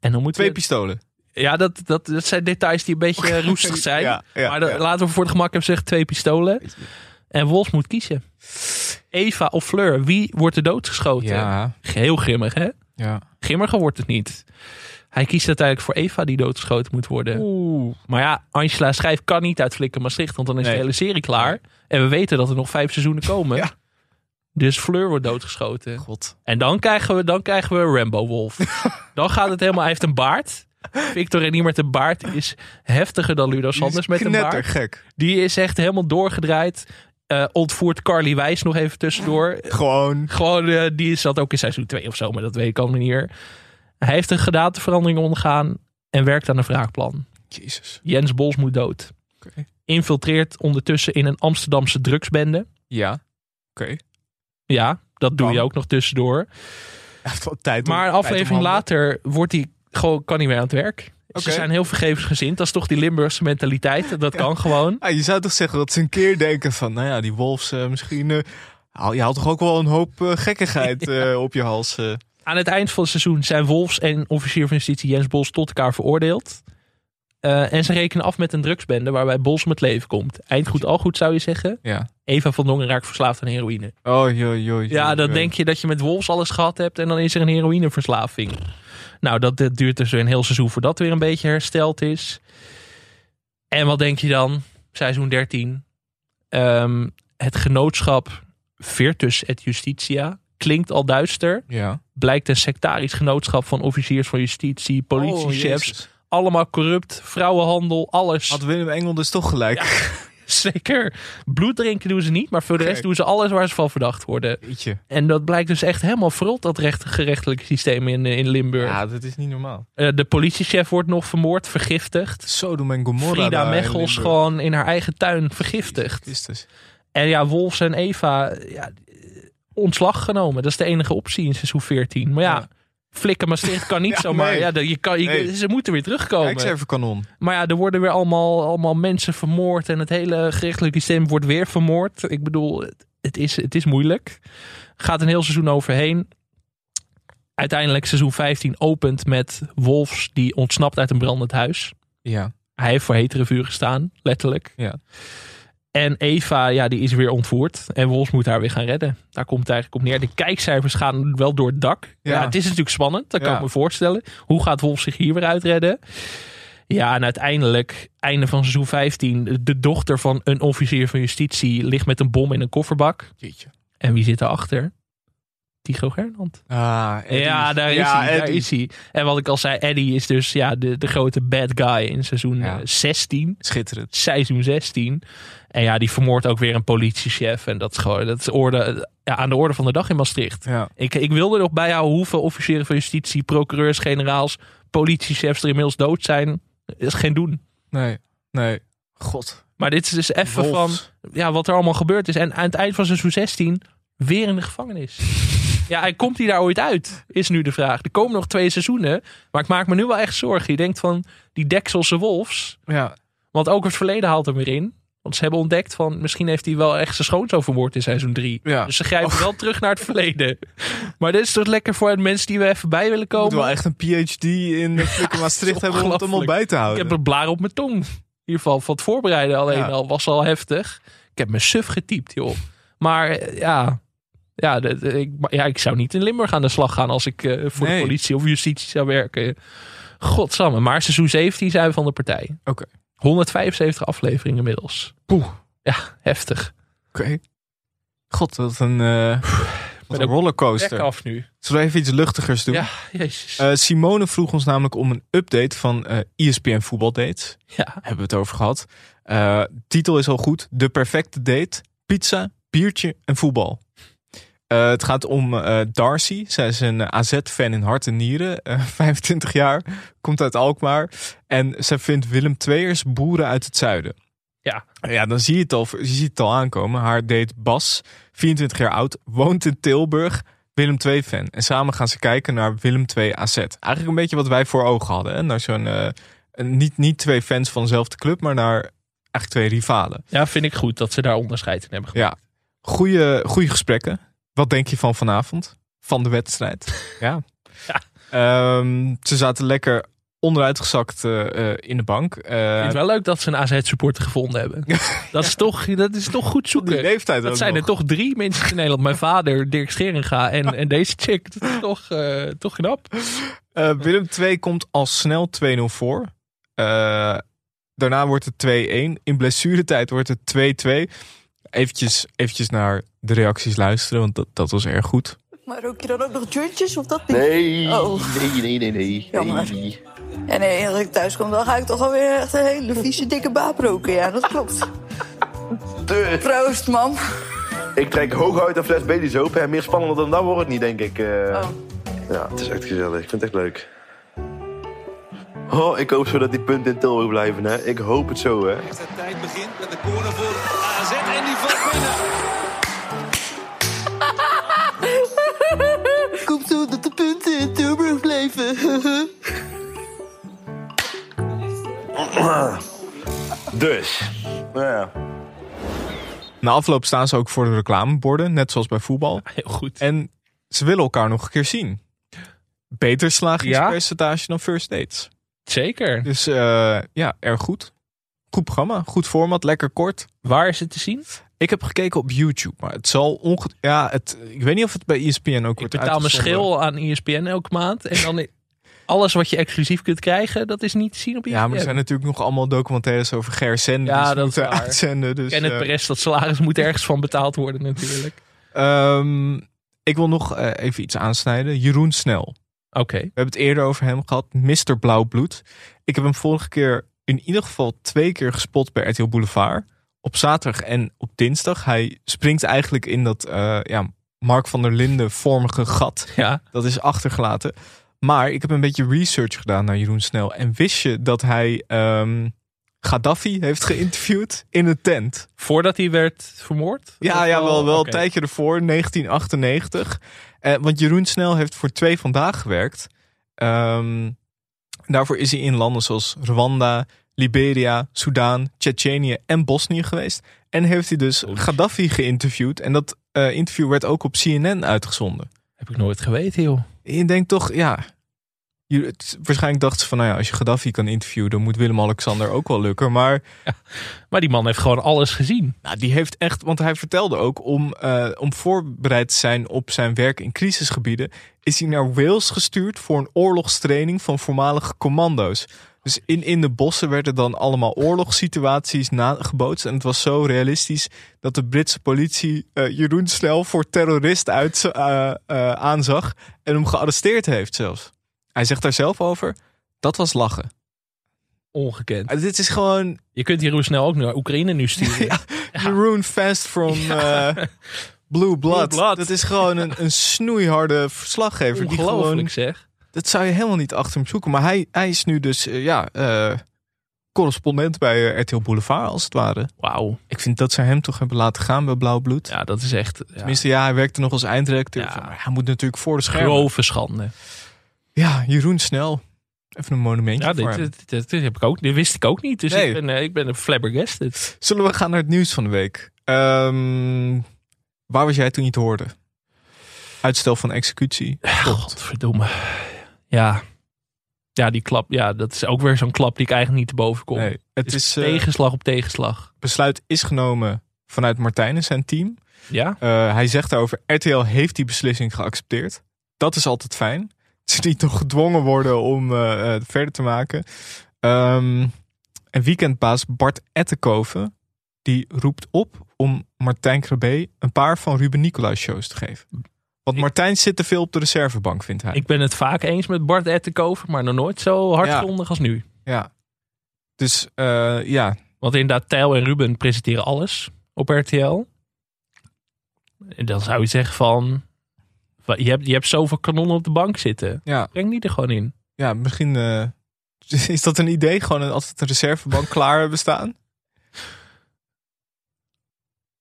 Speaker 2: En dan moeten
Speaker 1: Twee
Speaker 2: we
Speaker 1: pistolen.
Speaker 2: Ja, dat, dat, dat zijn details die een beetje eh, roestig zijn.
Speaker 1: Ja, ja,
Speaker 2: maar dan-
Speaker 1: ja.
Speaker 2: laten we voor het gemak even zeggen: twee pistolen. En Wolfs moet kiezen. Eva of Fleur, wie wordt er doodgeschoten?
Speaker 1: Ja,
Speaker 2: Heel grimmig, hè?
Speaker 1: ja.
Speaker 2: Grimmiger wordt het niet. Hij kiest uiteindelijk voor Eva die doodgeschoten moet worden.
Speaker 1: Oeh.
Speaker 2: Maar ja, Angela Schrijf kan niet uit Flikken Maastricht, want dan is
Speaker 1: Nee.
Speaker 2: de hele serie klaar. En we weten dat er nog vijf seizoenen komen.
Speaker 1: Ja.
Speaker 2: Dus Fleur wordt doodgeschoten.
Speaker 1: God.
Speaker 2: En dan krijgen we, dan krijgen we Rambo Wolf. dan gaat het helemaal. Hij heeft een baard. Victor en met een baard is heftiger dan Ludo Sanders dus met een baard.
Speaker 1: gek.
Speaker 2: Die is echt helemaal doorgedraaid. Eh, ontvoert Carly Wijs nog even tussendoor.
Speaker 1: Gewoon.
Speaker 2: Gewoon, eh, die zat ook in seizoen 2 of zo, maar dat weet ik al manier. Hij heeft een gedatenverandering ondergaan en werkt aan een wraakplan.
Speaker 1: Jezus.
Speaker 2: Jens Bols moet dood.
Speaker 1: Oké.
Speaker 2: Infiltreert ondertussen in een Amsterdamse drugsbende.
Speaker 1: Ja. Oké.
Speaker 2: Ja, dat doe
Speaker 1: Kan.
Speaker 2: je ook nog tussendoor.
Speaker 1: Hij heeft wel tijd om-
Speaker 2: Maar een
Speaker 1: tijd om
Speaker 2: aflevering
Speaker 1: handen.
Speaker 2: later wordt hij gewoon, kan hij weer aan het werk. Ze
Speaker 1: Oké.
Speaker 2: zijn heel vergevensgezind. Dat is toch die Limburgse mentaliteit. Dat kan gewoon.
Speaker 1: Ah, je zou toch zeggen dat ze een keer denken van, nou ja, die wolfs eh, misschien... eh, haal- je haalt toch ook wel een hoop eh, gekkigheid eh, op je hals. eh.
Speaker 2: Aan het eind van het seizoen zijn Wolfs en officier van justitie Jens Bos tot elkaar veroordeeld. Eh, en ze rekenen af met een drugsbende waarbij Bos om het leven komt. Eind goed, al goed zou je zeggen.
Speaker 1: Ja.
Speaker 2: Eva van Dongen raakt verslaafd aan heroïne.
Speaker 1: Oh, joh, joh.
Speaker 2: Ja, dan denk je dat je met Wolfs alles gehad hebt en dan is er een heroïneverslaving. Nou, dat, dat duurt dus weer een heel seizoen voordat weer een beetje hersteld is. En wat denk je dan? Seizoen 13. Ehm, het genootschap Virtus et Justitia klinkt al duister.
Speaker 1: Ja.
Speaker 2: Blijkt een sectarisch genootschap van officiers van justitie, politiechefs.
Speaker 1: Oh, Jezus.
Speaker 2: allemaal corrupt, vrouwenhandel, alles.
Speaker 1: Had Willem Engel dus toch gelijk.
Speaker 2: Zeker. Bloed drinken doen ze niet, maar voor de
Speaker 1: Oké.
Speaker 2: rest doen ze alles waar ze van verdacht worden.
Speaker 1: Jeetje.
Speaker 2: En dat blijkt dus echt helemaal verrot, dat recht, gerechtelijke systeem in, eh, in Limburg.
Speaker 1: Ja, dat is niet normaal.
Speaker 2: Eh, de politiechef wordt nog vermoord, vergiftigd.
Speaker 1: Sodom en Gomorra. daar
Speaker 2: Frida
Speaker 1: in
Speaker 2: Mechels
Speaker 1: Limburg.
Speaker 2: gewoon in haar eigen tuin vergiftigd.
Speaker 1: Christus.
Speaker 2: En ja, Wolfs en Eva, eh, ja, eh, ontslag genomen. Dat is de enige optie in seizoen 14. Maar ja,
Speaker 1: Ja.
Speaker 2: flikken Maastricht kan niet
Speaker 1: Ja,
Speaker 2: zomaar.
Speaker 1: nee.
Speaker 2: Ja, dat- je kan, je-
Speaker 1: Nee.
Speaker 2: Ze moeten weer terugkomen.
Speaker 1: Kijk eens even kanon.
Speaker 2: Maar ja, er worden weer allemaal, allemaal mensen vermoord. En het hele gerechtelijke systeem wordt weer vermoord. Ik bedoel, het- het is, het is moeilijk. Gaat een heel seizoen overheen. Uiteindelijk seizoen 15 opent met Wolfs die ontsnapt uit een brandend huis.
Speaker 1: Ja.
Speaker 2: Hij heeft voor hetere vuur gestaan, letterlijk.
Speaker 1: Ja.
Speaker 2: En Eva, ja, die is weer ontvoerd. En Wolfs moet haar weer gaan redden. Daar komt het eigenlijk op neer. De kijkcijfers gaan wel door het dak. Ja.
Speaker 1: Ja.
Speaker 2: het is natuurlijk spannend. Dat kan
Speaker 1: Ja.
Speaker 2: ik me voorstellen. Hoe gaat Wolfs zich hier weer uitredden? Ja, en uiteindelijk, einde van seizoen 15, de dochter van een officier van justitie ligt met een bom in een kofferbak.
Speaker 1: Jeetje.
Speaker 2: En wie zit erachter? Tycho Gernand.
Speaker 1: Ah, Eddie.
Speaker 2: Ja, daar is
Speaker 1: Ja,
Speaker 2: hij. Daar
Speaker 1: Eddie.
Speaker 2: is hij. En wat ik al zei, Eddie is dus ja, de, de grote bad guy in seizoen
Speaker 1: Ja.
Speaker 2: eh, 16.
Speaker 1: Schitterend.
Speaker 2: Seizoen 16. En ja, die vermoordt ook weer een politiechef. En dat is gewoon dat is orde, ja, aan de orde van de dag in Maastricht.
Speaker 1: Ja.
Speaker 2: Ik, ik wilde nog bijhouden hoeveel officieren van justitie, procureurs, generaals, politiechefs er inmiddels dood zijn. is geen doen.
Speaker 1: Nee, nee. God.
Speaker 2: Maar dit is dus even van
Speaker 1: Wolfs.
Speaker 2: ja, wat er allemaal gebeurd is. En aan het eind van seizoen 16 weer in de gevangenis. Ja, en komt hij daar ooit uit? Is nu de vraag. Er komen nog twee seizoenen. Maar ik maak me nu wel echt zorgen. Je denkt van die Dekselse Wolfs.
Speaker 1: Ja,
Speaker 2: Want ook het verleden haalt hem weer in. Want ze hebben ontdekt van misschien heeft hij wel echt zijn schoonzoon vermoord in seizoen 3.
Speaker 1: ja.
Speaker 2: Dus ze grijpen wel terug naar het verleden. Maar dit is toch lekker voor de mensen die we even bij willen
Speaker 1: Moet
Speaker 2: komen.
Speaker 1: wel echt een PhD in Flikker Maastricht hebben om het allemaal bij te
Speaker 2: Ik
Speaker 1: houden.
Speaker 2: heb een blaar op mijn tong. In ieder geval van het voorbereiden alleen
Speaker 1: Ja.
Speaker 2: al was al heftig. Ik heb me suf getypt, joh. Maar eh, ja, ja, dat- eh, ik, maar ja, ik zou niet in Limburg aan de slag gaan als ik eh, voor
Speaker 1: Nee.
Speaker 2: de politie of justitie zou werken. Godsamme, maar seizoen 17 zijn we van de partij.
Speaker 1: Oké.
Speaker 2: 175 afleveringen inmiddels.
Speaker 1: Poeh.
Speaker 2: Ja, heftig.
Speaker 1: Oké. God, wat een, eh, wat
Speaker 2: ben
Speaker 1: een
Speaker 2: ook Trek
Speaker 1: rollercoaster.
Speaker 2: af nu.
Speaker 1: Zullen we even iets luchtigers doen?
Speaker 2: Ja, jezus.
Speaker 1: Eh, Simone vroeg ons namelijk om een update van eh ESPN voetbaldates.
Speaker 2: ja.
Speaker 1: Hebben we het over gehad. Eh, titel is al goed. De perfecte date. Pizza, biertje en voetbal. Eh, het gaat om eh, Darcy. Zij is een eh, AZ-fan in hart en nieren. eh, 25 jaar. Komt uit Alkmaar. En zij vindt Willem Tweers boeren uit het zuiden.
Speaker 2: Ja.
Speaker 1: Ja, dan zie je het al, je ziet het al aankomen. Haar date Bas, 24 jaar oud, woont in Tilburg. Willem II fan. En samen gaan ze kijken naar Willem II AZ. Eigenlijk een beetje wat wij voor ogen hadden. Hè? Naar zo'n, eh, een- niet, niet twee fans van dezelfde club, maar naar eigenlijk twee rivalen.
Speaker 2: ja, vind ik goed dat ze daar onderscheid in hebben gemaakt.
Speaker 1: Ja. Goeie, goeie gesprekken. Wat denk je van vanavond? Van de wedstrijd? ja.
Speaker 2: Ja.
Speaker 1: Ehm, ze zaten lekker onderuitgezakt eh, eh, in de bank. Eh,
Speaker 2: Ik vind het wel leuk dat ze een AZ-supporter gevonden hebben. Dat, is toch, dat is toch goed
Speaker 1: die
Speaker 2: zoeken.
Speaker 1: leeftijd ook
Speaker 2: Dat zijn
Speaker 1: nog.
Speaker 2: er toch drie mensen in Nederland. Mijn vader, Dirk Scheringa en, en deze chick. Dat is toch, eh toch knap.
Speaker 1: Eh, Willem 2 komt al snel 2-0 voor. Eh, daarna wordt het 2-1. In blessuretijd wordt het 2-2. Eventjes, eventjes naar de reacties luisteren, want dat, dat was erg goed.
Speaker 3: Maar rook je dan ook nog jointjes of dat niet?
Speaker 4: Nee,
Speaker 3: Oh.
Speaker 4: nee, nee, nee, nee.
Speaker 3: Jammer.
Speaker 4: nee.
Speaker 3: Ja, nee, als ik thuis kom, dan ga ik toch alweer echt een hele vieze dikke baap roken. Ja, dat klopt.
Speaker 4: De-
Speaker 3: Proost, mam.
Speaker 4: ik trek hooguit een fles Baileys open en meer spannender dan dat wordt het niet, denk ik. eh.
Speaker 3: Oh.
Speaker 4: Ja, het is echt gezellig. Ik vind het echt leuk. Oh, ik hoop zo dat die punten in Tilburg blijven, hè. Ik hoop het zo, hè.
Speaker 5: De tijd begint met de corner voor AZ en die valt binnen.
Speaker 3: Komt zo dat de punten in Tilburg blijven.
Speaker 4: Dus. Nou ja.
Speaker 1: Na afloop staan ze ook voor de reclameborden, net zoals bij voetbal.
Speaker 2: Heel goed.
Speaker 1: En ze willen elkaar nog een keer zien. Beter slagingspercentage dan first dates.
Speaker 2: Zeker.
Speaker 1: Dus eh, ja, erg goed. Goed programma, goed format, lekker kort.
Speaker 2: Waar is het te zien?
Speaker 1: Ik heb gekeken op YouTube, maar het zal onge... Ja, het, ik weet niet of het bij E ESPN ook
Speaker 2: Ik
Speaker 1: wordt
Speaker 2: betaal mijn
Speaker 1: uitgezonden.
Speaker 2: schil aan E ESPN elke maand. En dan alles wat je exclusief kunt krijgen, dat is niet te zien op E ESPN.
Speaker 1: Ja, maar er zijn natuurlijk nog allemaal documentaires over Ger Sender.
Speaker 2: Ja,
Speaker 1: die ze
Speaker 2: dat is
Speaker 1: moeten
Speaker 2: waar.
Speaker 1: uitzenden. Dus,
Speaker 2: en het
Speaker 1: eh,
Speaker 2: Perez, dat salaris moet ergens van betaald worden natuurlijk.
Speaker 1: ehm, ik wil nog eh, even iets aansnijden. Jeroen Snel.
Speaker 2: Oké.
Speaker 1: We hebben het eerder over hem gehad. Mr. Blauwbloed. Ik heb hem vorige keer in ieder geval twee keer gespot bij RTL Boulevard. Op zaterdag en op dinsdag. Hij springt eigenlijk in dat eh, ja, Mark van der Linden vormige gat.
Speaker 2: Ja.
Speaker 1: Dat is achtergelaten. Maar ik heb een beetje research gedaan naar Jeroen Snel. En wist je dat hij ehm, Gaddafi heeft geïnterviewd in een tent?
Speaker 2: Voordat hij werd vermoord?
Speaker 1: Ja,
Speaker 2: Of
Speaker 1: ja wel, wel
Speaker 2: oké.
Speaker 1: een tijdje ervoor, 1998. Eh, want Jeroen Snel heeft voor twee vandaag gewerkt. Ehm, daarvoor is hij in landen zoals Rwanda, Liberia, Soudaan, Tsjetsjenië en Bosnië geweest. En heeft hij dus Gaddafi geïnterviewd. En dat eh, interview werd ook op CNN uitgezonden.
Speaker 2: Heb ik nooit geweten, joh.
Speaker 1: Je denkt toch, ja. je- het- waarschijnlijk dachten ze van, nou ja, als je Gaddafi kan interviewen, dan moet Willem-Alexander ook wel lukken. Maar
Speaker 2: Maar die man heeft gewoon alles gezien.
Speaker 1: nou, die heeft echt, want hij vertelde ook om, eh, om voorbereid te zijn op zijn werk in crisisgebieden, is hij naar Wales gestuurd voor een oorlogstraining van voormalige commando's. Dus in, in de bossen werden dan allemaal oorlogssituaties nagebootst. En het was zo realistisch dat de Britse politie eh, Jeroen snel voor terrorist uit, eh, eh, aanzag. En hem gearresteerd heeft zelfs. Hij zegt daar zelf over, dat was lachen.
Speaker 2: Ongekend.
Speaker 1: Eh, dit is gewoon
Speaker 2: Je kunt Jeroen snel ook naar Oekraïne nu sturen.
Speaker 1: Jeroen Fast from eh, Blue, Blood.
Speaker 2: Blood.
Speaker 1: Dat is gewoon een, een snoeiharde verslaggever. Die gewoon
Speaker 2: Ongelooflijk zeg.
Speaker 1: Dat zou je helemaal niet achter hem zoeken. Maar hij, hij is nu dus eh, ja, eh, correspondent bij eh, RTL Boulevard als het ware.
Speaker 2: Wauw.
Speaker 1: Ik vind dat ze hem toch hebben laten gaan bij Blauw Bloed.
Speaker 2: Ja, dat is echt ja,
Speaker 1: Tenminste, ja, hij werkte nog als eindredacteur.
Speaker 2: Ja.
Speaker 1: Van, maar hij moet natuurlijk voor de schermen.
Speaker 2: grove schande.
Speaker 1: Ja, Jeroen Snel. Even een monumentje
Speaker 2: Ja,
Speaker 1: voor
Speaker 2: dit, eh,
Speaker 1: hem.
Speaker 2: dit, dit- dit heb ik ook, dit wist ik ook niet. Dus
Speaker 1: Nee.
Speaker 2: ik, ben, eh, ik ben een flabbergasted.
Speaker 1: Zullen we gaan naar het nieuws van de week? Ehm, waar was jij toen je het hoorde? Uitstel van executie.
Speaker 2: Godverdomme. Ja. Ja, die klap. Ja, dat is ook weer zo'n klap die ik eigenlijk niet te boven kom.
Speaker 1: Nee, het is, eh,
Speaker 2: tegenslag op tegenslag.
Speaker 1: besluit is genomen vanuit Martijn en zijn team.
Speaker 2: Ja,
Speaker 1: Eh, hij zegt daarover, RTL heeft die beslissing geaccepteerd. Dat is altijd fijn. Ze niet nog gedwongen worden om eh, eh, verder te maken. Ehm, en weekendbaas Bart Ettenkoven, die roept op om Martijn Krabbe een paar van Ruben Nicolaas shows te geven. Want
Speaker 2: Ik-
Speaker 1: Martijn zit te veel op de reservebank, vindt hij.
Speaker 2: ik ben het vaak eens met Bart Ettenkover, maar nog nooit zo hardgrondig als nu.
Speaker 1: Ja. Dus eh, ja,
Speaker 2: Want inderdaad, Tijl en Ruben presenteren alles op RTL. En dan zou je zeggen van, wa- je hebt, je hebt zoveel kanonnen op de bank zitten.
Speaker 1: ja,
Speaker 2: Breng die er gewoon in.
Speaker 1: ja misschien eh, is dat een idee. Gewoon een, altijd een reservebank klaar hebben staan.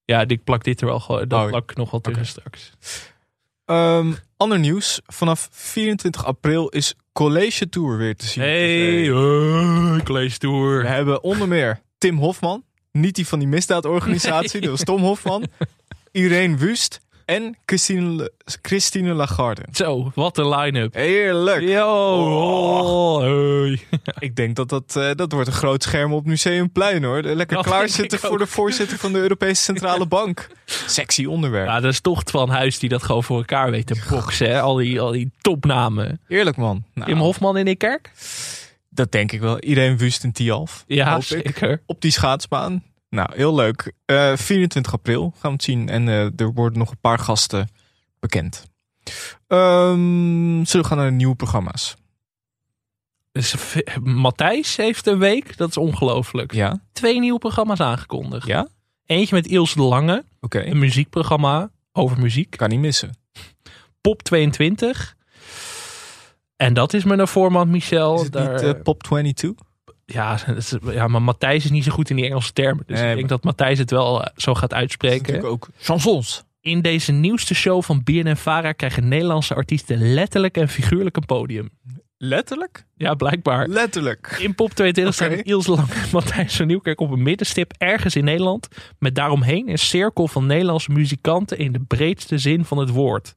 Speaker 2: Ja, ik plak dit er wel gewoon. Dat
Speaker 1: Oh,
Speaker 2: plak ik nog wel tussen straks.
Speaker 1: Ehm, ander nieuws. Vanaf 24 april is College Tour weer te zien. op
Speaker 2: Hey, eh,
Speaker 1: tv.
Speaker 2: hey, College
Speaker 1: We
Speaker 2: Tour.
Speaker 1: hebben onder meer Tim Hofman. Niet die van die misdaadorganisatie, dat was Tom Hofman. Irene Wust en Christine, Le- Christine Lagarde.
Speaker 2: Zo, wat een line-up.
Speaker 1: Heerlijk.
Speaker 2: Yo, oh, hey.
Speaker 1: Ik denk dat dat, eh, dat wordt een groot scherm op Museumplein hoor. Lekker
Speaker 2: Dat denk
Speaker 1: klaarzitten
Speaker 2: Oh, ik
Speaker 1: voor de voorzitter van de Europese Centrale Bank. Sexy onderwerp.
Speaker 2: Ja, dat is toch van Huis die dat gewoon voor elkaar weet te boksen. hè. Al die, al die topnamen.
Speaker 1: Eerlijk man. Nou,
Speaker 2: Tim Hofman in de kerk?
Speaker 1: Dat denk ik wel. Irene Wust en Tialf.
Speaker 2: Ja,
Speaker 1: Hoop ik.
Speaker 2: zeker.
Speaker 1: op die schaatsbaan. Nou, heel leuk. Eh, 24 april gaan we het zien. En eh, er worden nog een paar gasten bekend. Ehm, zullen we gaan naar de nieuwe programma's?
Speaker 2: Dus, v- Matthijs heeft een week, dat is ongelooflijk.
Speaker 1: Ja,
Speaker 2: Twee nieuwe programma's aangekondigd.
Speaker 1: Ja?
Speaker 2: Eentje met Ilse de Lange,
Speaker 1: oké.
Speaker 2: een muziekprogramma over muziek.
Speaker 1: Kan niet missen.
Speaker 2: Pop 22. En dat is mijn voorman Michel.
Speaker 1: Is het
Speaker 2: Daar-
Speaker 1: niet eh, Pop 22?
Speaker 2: Ja, dat is- ja, maar Matthijs is niet zo goed in die Engelse termen. Dus
Speaker 1: Nee,
Speaker 2: ik
Speaker 1: maar-
Speaker 2: denk dat Matthijs het wel eh, zo gaat uitspreken.
Speaker 1: Natuurlijk ook chansons.
Speaker 2: In deze nieuwste show van BNN en Vara krijgen Nederlandse artiesten letterlijk en figuurlijk een podium.
Speaker 1: Letterlijk?
Speaker 2: Ja, blijkbaar.
Speaker 1: Letterlijk.
Speaker 2: In Pop 22
Speaker 1: Oké.
Speaker 2: zijn Iels Lang en Matthijs van Nieuwkerk op een middenstip ergens in Nederland. Met daaromheen een cirkel van Nederlandse muzikanten in de breedste zin van het woord.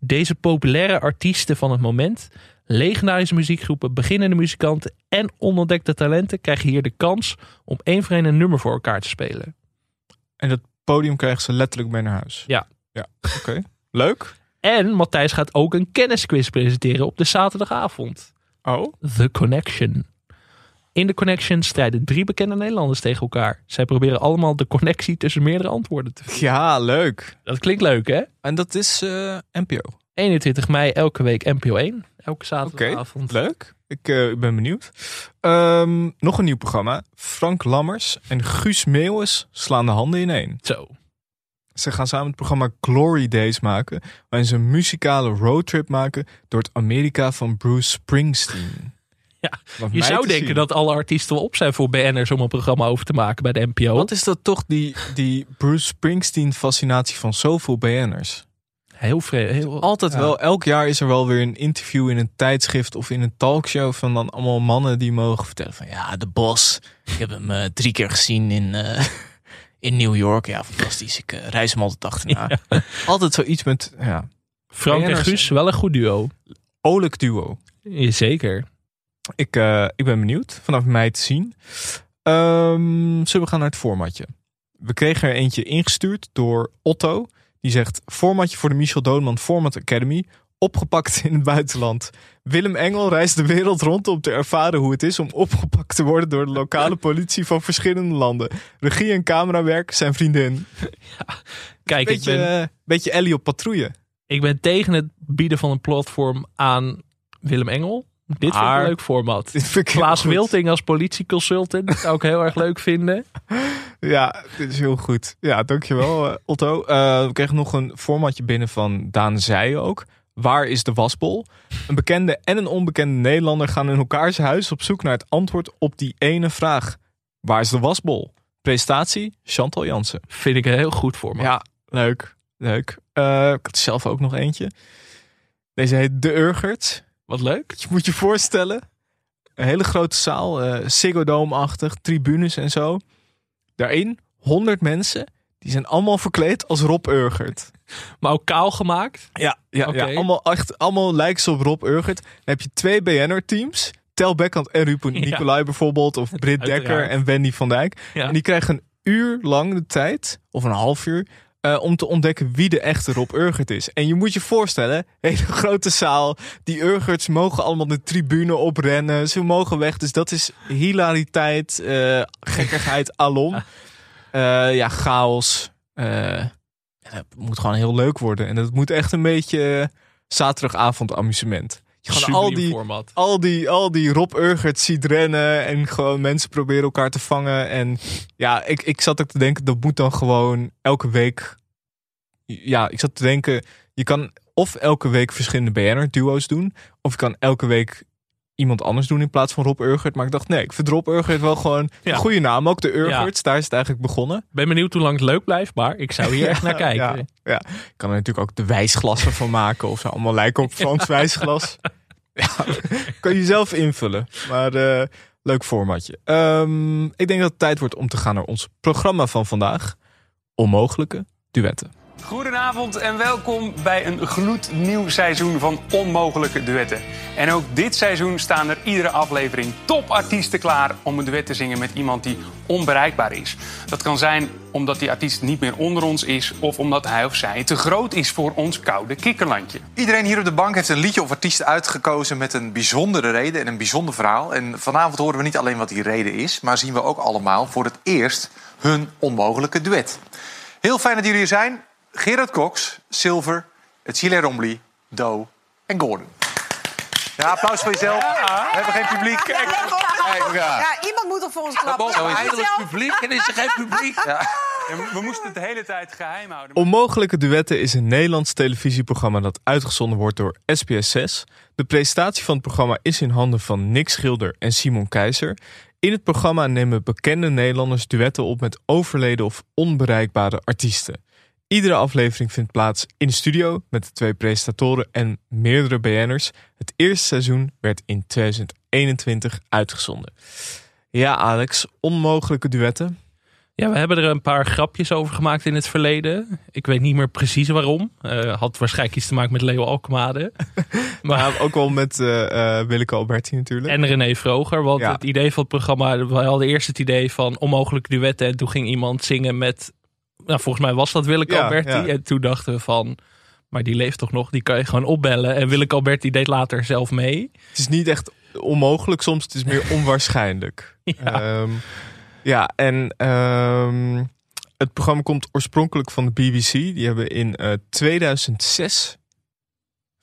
Speaker 2: Deze populaire artiesten van het moment, legendarische muziekgroepen, beginnende muzikanten en onontdekte talenten krijgen hier de kans om één voor één een nummer voor elkaar te spelen.
Speaker 1: En dat podium krijgen ze letterlijk mee naar huis.
Speaker 2: Ja.
Speaker 1: Ja, oké. Leuk.
Speaker 2: En Matthijs gaat ook een kennisquiz presenteren op de zaterdagavond.
Speaker 1: Oh.
Speaker 2: The Connection. In The Connection strijden drie bekende Nederlanders tegen elkaar. Zij proberen allemaal de connectie tussen meerdere antwoorden te vinden.
Speaker 1: Ja, leuk.
Speaker 2: Dat klinkt leuk, hè?
Speaker 1: En dat is eh, NPO.
Speaker 2: 21 mei elke week NPO 1. Elke zaterdagavond.
Speaker 1: Leuk. Ik eh, ben benieuwd. Ehm, nog een nieuw programma. Frank Lammers en Guus Meeuwis slaan de handen ineen.
Speaker 2: Zo.
Speaker 1: Ze gaan samen het programma Glory Days maken. Waarin ze een muzikale roadtrip maken door het Amerika van Bruce Springsteen.
Speaker 2: Ja,
Speaker 1: Wat
Speaker 2: Je
Speaker 1: mij
Speaker 2: zou
Speaker 1: te
Speaker 2: denken
Speaker 1: zien-
Speaker 2: dat alle artiesten wel op zijn voor BN'ers om een programma over te maken bij de NPO.
Speaker 1: Wat is dat toch, die, die Bruce Springsteen fascinatie van zoveel BN'ers?
Speaker 2: Heel vreemd. Heel...
Speaker 1: Altijd
Speaker 2: Ja.
Speaker 1: wel, elk jaar is er wel weer een interview in een tijdschrift of in een talkshow van dan allemaal mannen die mogen vertellen van ja, de bos. Ik heb hem eh, drie keer gezien in, eh, in New York. Ja, fantastisch. Ik eh, reis hem altijd achterna. Altijd zoiets met ja,
Speaker 2: Frank en
Speaker 1: BN'ers.
Speaker 2: Guus, wel een goed duo.
Speaker 1: olijk duo.
Speaker 2: Jazeker.
Speaker 1: Ik, eh, ik ben benieuwd vanaf mei te zien. Ehm, zullen we gaan naar het formatje? We kregen er eentje ingestuurd door Otto. Die zegt: Formatje voor de Michel Doodman Format Academy. opgepakt in het buitenland. Willem Engel reist de wereld rond om te ervaren hoe het is om opgepakt te worden door de lokale politie van verschillende landen. Regie en camerawerk zijn vriendin.
Speaker 2: Kijk, ik
Speaker 1: Beetje,
Speaker 2: ben,
Speaker 1: eh, beetje Ellie op patrouille.
Speaker 2: ik ben tegen het bieden van een platform aan Willem Engel. Dit vind ik
Speaker 1: Maar-
Speaker 2: een leuk format.
Speaker 1: Dit vind ik heel
Speaker 2: Klaas
Speaker 1: goed.
Speaker 2: Wilting als politieconsultant dat zou ik heel erg leuk vinden.
Speaker 1: Ja, dit is heel goed. Ja, dankjewel eh, Otto. Eh, we kregen nog een formatje binnen van Daan Zij ook. Waar is de wasbol? Een bekende en een onbekende Nederlander gaan in elkaars huis op zoek naar het antwoord op die ene vraag. Waar is de wasbol? Prestatie Chantal Jansen.
Speaker 2: Vind ik een heel goed format.
Speaker 1: Ja, leuk. Leuk. Eh, ik had zelf ook nog eentje. Deze heet De Urgert.
Speaker 2: Wat leuk.
Speaker 1: Je moet je voorstellen. Een hele grote zaal, eh Ziggo Dome-achtig, tribunes en zo. Daarin 100 mensen. Die zijn allemaal verkleed als Rob Urgert.
Speaker 2: Maar ook kaal gemaakt.
Speaker 1: Ja, ja, ja.
Speaker 2: Oké.
Speaker 1: Allemaal, echt, allemaal lijks op Rob Urgert. Dan heb je twee BN'er-teams. Tel Beckhant en Rupo
Speaker 2: Ja.
Speaker 1: Nicolai bijvoorbeeld. Of Britt Dekker
Speaker 2: Uiteraard.
Speaker 1: en Wendy van Dijk.
Speaker 2: Ja.
Speaker 1: En die krijgen een uur lang de tijd, of een half uur, eh, om te ontdekken wie de echte Rob Urgert is. En je moet je voorstellen, hele grote zaal. Die Urgerts mogen allemaal de tribune oprennen. Ze mogen weg. Dus dat is hilariteit, eh, gekkigheid alom. Eh, ja, chaos. Eh, en het moet gewoon heel leuk worden. En het moet echt een beetje eh, zaterdagavond amusement. Je gaat al
Speaker 2: Subliem
Speaker 1: die,
Speaker 2: format.
Speaker 1: al die, al die Rob Urgert ziet rennen en gewoon mensen proberen elkaar te vangen. En ja, ik, ik zat ook te denken, dat moet dan gewoon elke week. Ja, ik zat te denken, je kan of elke week verschillende BNR-duo's doen, of je kan elke week iemand anders doen in plaats van Rob Urgert. Maar ik dacht, nee, ik vind Rob Urgert wel gewoon
Speaker 2: Ja.
Speaker 1: een goede naam. Ook de Urgerts, daar is het eigenlijk begonnen.
Speaker 2: Ben benieuwd hoe lang het leuk blijft, maar ik zou hier echt naar kijken.
Speaker 1: Ja, ja. Ik kan er natuurlijk ook de wijsglassen van maken of zo. Allemaal lijken op Frans wijsglas. Ja, kan je zelf invullen. Maar eh, leuk formatje. Ehm, ik denk dat het tijd wordt om te gaan naar ons programma van vandaag. Onmogelijke duetten.
Speaker 6: Goedenavond en welkom bij een gloednieuw seizoen van Onmogelijke Duetten. En ook dit seizoen staan er iedere aflevering topartiesten klaar om een duet te zingen met iemand die onbereikbaar is. Dat kan zijn omdat die artiest niet meer onder ons is of omdat hij of zij te groot is voor ons koude kikkerlandje.
Speaker 7: Iedereen hier op de bank heeft een liedje of artiest uitgekozen met een bijzondere reden en een bijzonder verhaal. En vanavond horen we niet alleen wat die reden is, maar zien we ook allemaal voor het eerst hun onmogelijke duet. Heel fijn dat jullie er zijn. Gerard Cox, Silver, het Chile Rombly, Doe en Gordon. Ja, applaus voor jezelf. We hebben geen publiek.
Speaker 8: Ja, iemand moet er voor ons klappen.
Speaker 6: mogen
Speaker 8: Ja,
Speaker 6: eigenlijk
Speaker 8: zelf.
Speaker 6: publiek en is er geen publiek. we moesten het de hele tijd geheim houden.
Speaker 1: Onmogelijke duetten is een Nederlands televisieprogramma dat uitgezonden wordt door SBS6. De presentatie van het programma is in handen van Nick Schilder en Simon Keizer. In het programma nemen bekende Nederlanders duetten op met overleden of onbereikbare artiesten. Iedere aflevering vindt plaats in de studio met de twee presentatoren en meerdere BN'ers. Het eerste seizoen werd in 2021 uitgezonden. Ja, Alex, onmogelijke duetten.
Speaker 2: Ja, we hebben er een paar grapjes over gemaakt in het verleden. Ik weet niet meer precies waarom. Eh, had waarschijnlijk iets te maken met Leo Alkmaade. maar,
Speaker 1: Maar ook wel met eh, eh, Willeke Alberti natuurlijk.
Speaker 2: en René Vroger. Want
Speaker 1: Ja.
Speaker 2: het idee van het programma, we hadden eerst het idee van onmogelijke duetten. En toen ging iemand zingen met, nou volgens mij was dat Willeke
Speaker 1: Ja,
Speaker 2: Alberti.
Speaker 1: ja.
Speaker 2: En toen dachten we van, maar die leeft toch nog? Die kan je gewoon opbellen. En Willeke Alberti deed later zelf mee.
Speaker 1: Het is niet echt onmogelijk soms, het is meer onwaarschijnlijk.
Speaker 2: Ja.
Speaker 1: Ehm, ja, en ehm, het programma komt oorspronkelijk van de BBC. Die hebben in eh, 2006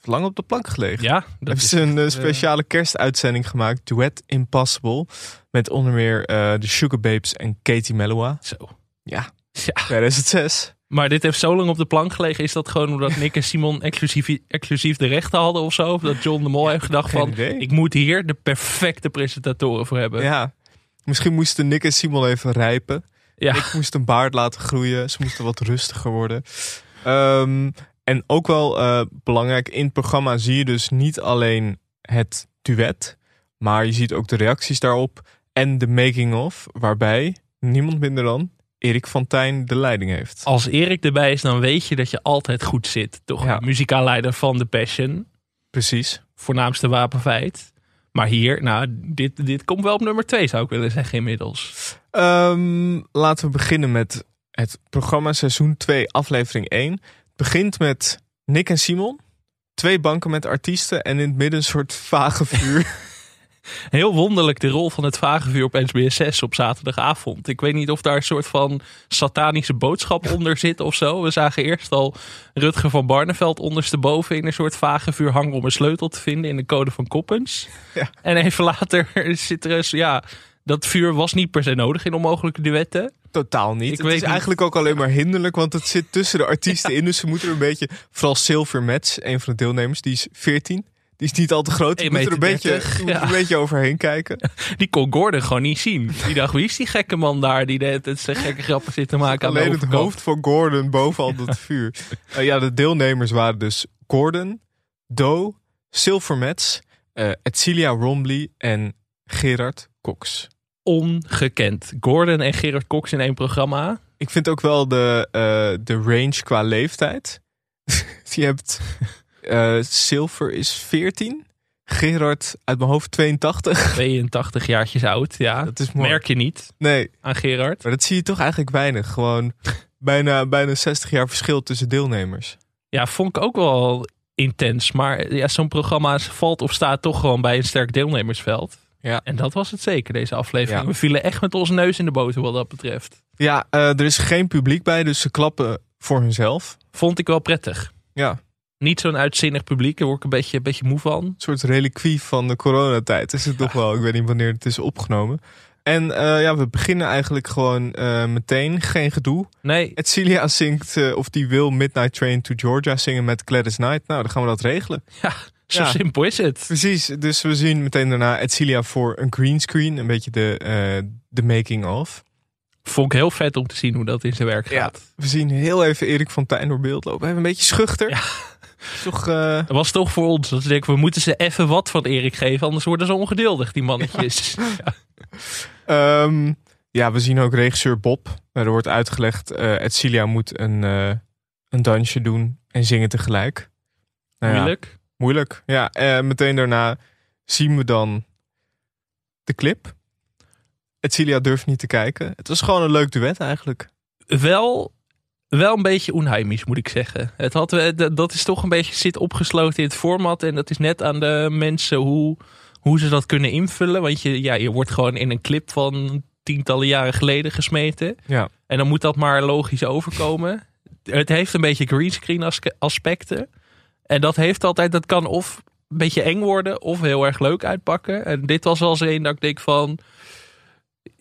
Speaker 1: lang op de plank gelegen.
Speaker 2: Ja, dat
Speaker 1: hebben
Speaker 2: is
Speaker 1: ze een eh,
Speaker 2: echt, eh,
Speaker 1: speciale kerstuitzending gemaakt, Duet Impossible. Met onder meer eh, de Sugar Babes en Katie Melua.
Speaker 2: zo.
Speaker 1: Ja,
Speaker 2: Ja.
Speaker 1: 2006.
Speaker 2: Maar dit heeft zo lang op de plank gelegen. Is dat gewoon omdat Nick en Simon exclusief, exclusief de rechten hadden of zo? Of dat John de Mol heeft gedacht
Speaker 1: geen
Speaker 2: van...
Speaker 1: idee.
Speaker 2: Ik moet hier de perfecte presentatoren voor hebben. Ja,
Speaker 1: Ja. Misschien moesten Nick en Simon even rijpen.
Speaker 2: ja.
Speaker 1: Ik moest een baard laten groeien. Ze moesten wat rustiger worden. Ehm, en ook wel eh, belangrijk, in het programma zie je dus niet alleen het duet, maar je ziet ook de reacties daarop en de making-of, waarbij niemand minder dan Erik van Tijn de leiding heeft.
Speaker 2: als Erik erbij is, dan weet je dat je altijd goed zit. Toch?
Speaker 1: Ja.
Speaker 2: Muzikaal leider van The Passion.
Speaker 1: Precies.
Speaker 2: Voornaamste wapenfeit. Maar hier, nou, dit, dit komt wel op nummer twee, zou ik willen zeggen inmiddels.
Speaker 1: Ehm, laten we beginnen met het programma seizoen 2, aflevering 1. Het begint met Nick en Simon. Twee banken met artiesten en in het midden een soort vage vuur.
Speaker 2: Heel wonderlijk de rol van het vagevuur op SBS6 op zaterdagavond. Ik weet niet of daar een soort van satanische boodschap onder zit of zo. We zagen eerst al Rutger van Barneveld ondersteboven in een soort vagevuur hangen om een sleutel te vinden in de code van Koppens.
Speaker 1: Ja.
Speaker 2: En even later zit er eens, ja, dat vuur was niet per se nodig in onmogelijke duetten.
Speaker 1: Totaal niet.
Speaker 2: Ik
Speaker 1: het
Speaker 2: weet
Speaker 1: is
Speaker 2: niet.
Speaker 1: eigenlijk ook alleen maar hinderlijk, want het zit tussen de artiesten in. Dus ze moeten er een beetje, vooral Silver Match, een van de deelnemers, die is 14. Die is niet al te groot. Die
Speaker 2: 1,30
Speaker 1: moet er een beetje,
Speaker 2: meter,
Speaker 1: die moet er
Speaker 2: ja.
Speaker 1: een beetje overheen kijken.
Speaker 2: Die kon Gordon gewoon niet zien. Die dacht, wie is die gekke man daar die de hele tijd zijn gekke grappen zit te maken aan de
Speaker 1: Alleen het
Speaker 2: overkant?
Speaker 1: hoofd van Gordon boven al dat vuur. Eh, ja, de deelnemers waren dus Gordon, Doe, Silver Mets, eh Edcilia Rombly en Gerard Cox.
Speaker 2: Ongekend. Gordon en Gerard Cox in één programma.
Speaker 1: Ik vind ook wel de, eh, de range qua leeftijd. Je hebt eh, Silver is 14, Gerard uit mijn hoofd 82.
Speaker 2: 82 jaartjes oud, ja.
Speaker 1: Dat is mooi.
Speaker 2: Merk je niet
Speaker 1: Nee,
Speaker 2: aan Gerard.
Speaker 1: maar dat zie je toch eigenlijk weinig. Gewoon bijna, bijna 60 jaar verschil tussen deelnemers.
Speaker 2: Ja, vond ik ook wel intens. Maar ja, zo'n programma valt of staat toch gewoon bij een sterk deelnemersveld.
Speaker 1: Ja.
Speaker 2: En dat was het zeker, deze aflevering.
Speaker 1: Ja.
Speaker 2: We vielen echt met onze neus in de boter wat dat betreft.
Speaker 1: Ja, eh, er is geen publiek bij, dus ze klappen voor hunzelf.
Speaker 2: Vond ik wel prettig.
Speaker 1: Ja, een
Speaker 2: Niet zo'n uitzinnig publiek, daar word ik een beetje, een beetje moe van.
Speaker 1: soort reliquie van de coronatijd is het toch wel. Ik weet niet wanneer het is opgenomen. En eh, ja, we beginnen eigenlijk gewoon eh, meteen. Geen gedoe.
Speaker 2: Nee,
Speaker 1: Edcilia zingt, eh, of die wil Midnight Train to Georgia zingen met Gladys Knight. Nou, dan gaan we dat regelen.
Speaker 2: ja, zo
Speaker 1: Ja.
Speaker 2: simpel is het.
Speaker 1: Precies, dus we zien meteen daarna Edcilia voor een greenscreen. Een beetje de, eh, de making of.
Speaker 2: Vond ik heel vet om te zien hoe dat in zijn werk
Speaker 1: Ja.
Speaker 2: gaat.
Speaker 1: We zien heel even Erik van Tijn door beeld lopen. Even een beetje schuchter. Is Toch... eh,
Speaker 2: Dat was toch voor ons. Dat ik denk, we moeten ze even wat van Erik geven, anders worden ze ongeduldig, die mannetjes. Ja.
Speaker 1: Ehm, ja, we zien ook regisseur Bob. Er wordt uitgelegd, eh Edcilia moet een, eh, een dansje doen en zingen tegelijk. Nou ja,
Speaker 2: Moeilijk.
Speaker 1: moeilijk. Ja, eh, meteen daarna zien we dan de clip. Edcilia durft niet te kijken. Het was gewoon een leuk duet eigenlijk.
Speaker 2: wel, wel een beetje onheimisch, moet ik zeggen. Het had, eh, d- dat is toch een beetje zit opgesloten in het format. En dat is net aan de mensen hoe, hoe ze dat kunnen invullen. Want je, ja, je wordt gewoon in een clip van tientallen jaren geleden gesmeten.
Speaker 1: Ja.
Speaker 2: En dan moet dat maar logisch overkomen. Het heeft een beetje greenscreen as- aspecten. En dat heeft altijd, dat kan of een beetje eng worden of heel erg leuk uitpakken. En dit was wel eens een dat ik denk van,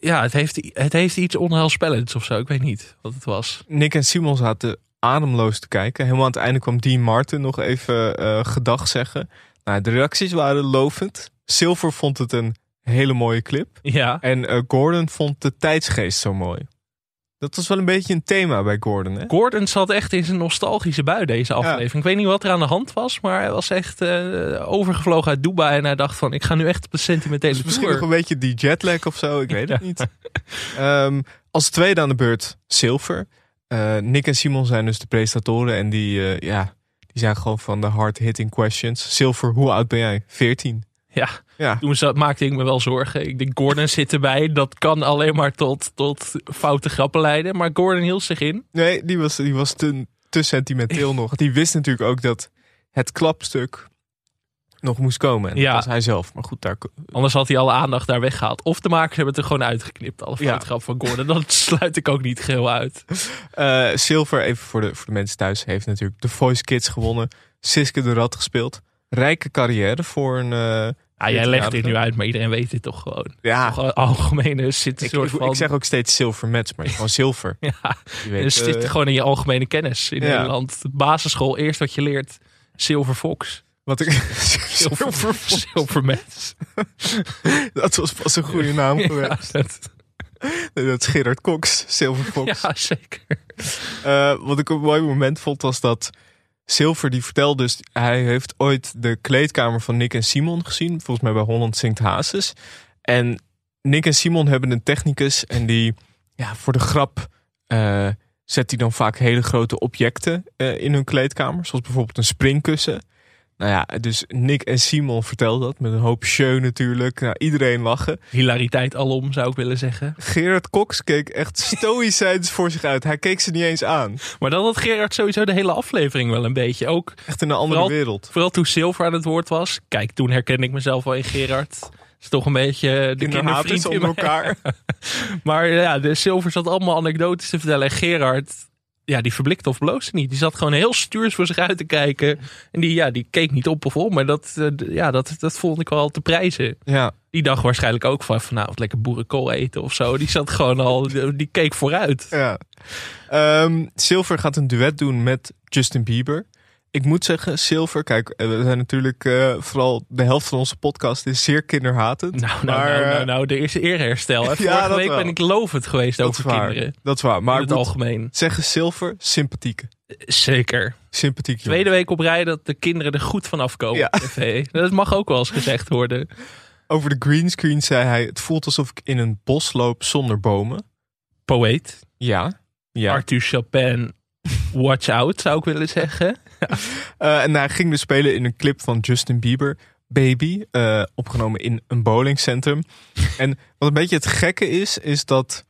Speaker 2: ja, het heeft, het heeft iets onheilspellends of zo. Ik weet niet wat het was.
Speaker 1: Nick en Simon zaten ademloos te kijken. Helemaal aan het einde kwam Dean Martin nog even eh gedag zeggen. Nou, de reacties waren lovend. Silver vond het een hele mooie clip.
Speaker 2: Ja,
Speaker 1: En eh, Gordon vond de tijdsgeest zo mooi. Dat was wel een beetje een thema bij Gordon, hè?
Speaker 2: Gordon zat echt in zijn nostalgische bui deze aflevering. Ik weet niet wat er aan de hand was, maar hij was echt eh, overgevlogen uit Dubai. En hij dacht van, ik ga nu echt op een sentimentele
Speaker 1: Dus misschien nog
Speaker 2: tour.
Speaker 1: een beetje die jetlag of zo, ik weet het niet. Ehm, als tweede aan de beurt Silver. Eh, Nick en Simon zijn dus de presentatoren en die, eh, ja, die zijn gewoon van de hard-hitting questions. Silver, hoe oud ben jij? 14.
Speaker 2: Ja,
Speaker 1: Ja,
Speaker 2: toen zat- maakte ik me wel zorgen. Ik denk, Gordon zit erbij. Dat kan alleen maar tot, tot foute grappen leiden. Maar Gordon hield zich in.
Speaker 1: nee, die was, die was te, te sentimenteel nog. Die wist natuurlijk ook dat het klapstuk nog moest komen. En
Speaker 2: Ja.
Speaker 1: dat was hij zelf. Maar goed, daar
Speaker 2: Anders had hij alle aandacht daar weggehaald. Of de makers hebben het er gewoon uitgeknipt. Alle
Speaker 1: Ja.
Speaker 2: foute grap van Gordon. Dat sluit ik ook niet geheel uit.
Speaker 1: Eh, Silver, even voor de, voor de mensen thuis, heeft natuurlijk de Voice Kids gewonnen. Siske de Rad gespeeld. Rijke carrière voor een... eh,
Speaker 2: Ah, jij legt dit
Speaker 1: 14-jarige.
Speaker 2: nu uit, maar iedereen weet dit toch gewoon.
Speaker 1: Ja,
Speaker 2: Toch, eh, algemene zit een
Speaker 1: ik,
Speaker 2: soort
Speaker 1: ik-
Speaker 2: van...
Speaker 1: ik zeg ook steeds Silver Match, maar gewoon Silver.
Speaker 2: ja,
Speaker 1: Je weet,
Speaker 2: het zit
Speaker 1: eh,
Speaker 2: gewoon in je algemene kennis in
Speaker 1: ja.
Speaker 2: Nederland. Basisschool, eerst wat je leert. Silver Fox.
Speaker 1: wat ik, Silver,
Speaker 2: Silver Mets.
Speaker 1: dat was pas een goede naam
Speaker 2: Ja,
Speaker 1: geweest.
Speaker 2: dat-
Speaker 1: Dat is Gerard Cox, Silver Fox.
Speaker 2: ja, zeker.
Speaker 1: Eh, wat ik een mooi moment vond was dat Silver die vertelde dus hij heeft ooit de kleedkamer van Nick en Simon gezien, volgens mij bij Holland Zingt Hazes. En Nick en Simon hebben een technicus en die ja, voor de grap eh, zet hij dan vaak hele grote objecten eh, in hun kleedkamer, zoals bijvoorbeeld een springkussen. Nou ja, dus Nick en Simon vertelden dat met een hoop show natuurlijk. Nou, iedereen lachen.
Speaker 2: Hilariteit alom, zou ik willen zeggen.
Speaker 1: Gerard Cox keek echt stoïcijns voor zich uit. Hij keek ze niet eens aan.
Speaker 2: Maar dan had Gerard sowieso de hele aflevering wel een beetje. Ook
Speaker 1: Echt in een andere
Speaker 2: Vooral-
Speaker 1: wereld.
Speaker 2: vooral toen Silver aan het woord was. Kijk, toen herkende ik mezelf wel in Gerard. Het is toch een beetje de
Speaker 1: Kinderhaters
Speaker 2: kindervriend in
Speaker 1: onder
Speaker 2: mij.
Speaker 1: elkaar.
Speaker 2: Maar ja, de Silver zat allemaal anekdotes te vertellen. En Gerard, ja, die verblikte of bloosde niet. Die zat gewoon heel stuurs voor zich uit te kijken. En die, ja, die keek niet op of om. Maar dat, eh, d- ja, dat, dat vond ik wel te prijzen.
Speaker 1: Ja,
Speaker 2: Die dag waarschijnlijk ook van vanavond lekker boerenkool eten of zo. Die zat gewoon al, die keek vooruit.
Speaker 1: ja. Ehm, Silver gaat een duet doen met Justin Bieber. Ik moet zeggen, Silver, kijk, eh, we zijn natuurlijk eh, vooral de helft van onze podcast is zeer kinderhatend.
Speaker 2: Nou, nou,
Speaker 1: maar,
Speaker 2: nou,
Speaker 1: eh,
Speaker 2: nou, nou, er is eerherstel. hè. Vorige
Speaker 1: dat
Speaker 2: week
Speaker 1: wel.
Speaker 2: ben ik lovend geweest
Speaker 1: dat
Speaker 2: over
Speaker 1: is waar.
Speaker 2: kinderen.
Speaker 1: Dat is waar. Maar
Speaker 2: in
Speaker 1: ik
Speaker 2: het
Speaker 1: moet
Speaker 2: algemeen.
Speaker 1: zeggen, Silver, sympathieke.
Speaker 2: Zeker.
Speaker 1: Sympathiek jongen.
Speaker 2: Tweede week op rij dat de kinderen er goed van afkomen
Speaker 1: Ja.
Speaker 2: op tv. Dat mag ook wel eens gezegd worden.
Speaker 1: Over de greenscreen zei hij, het voelt alsof ik in een bos loop zonder bomen.
Speaker 2: Poëet.
Speaker 1: Ja. ja.
Speaker 2: Arthur Chapin, watch out zou ik willen zeggen.
Speaker 1: Eh, en hij ging dus spelen in een clip van Justin Bieber, Baby, eh, opgenomen in een bowlingcentrum. en wat een beetje het gekke is, is dat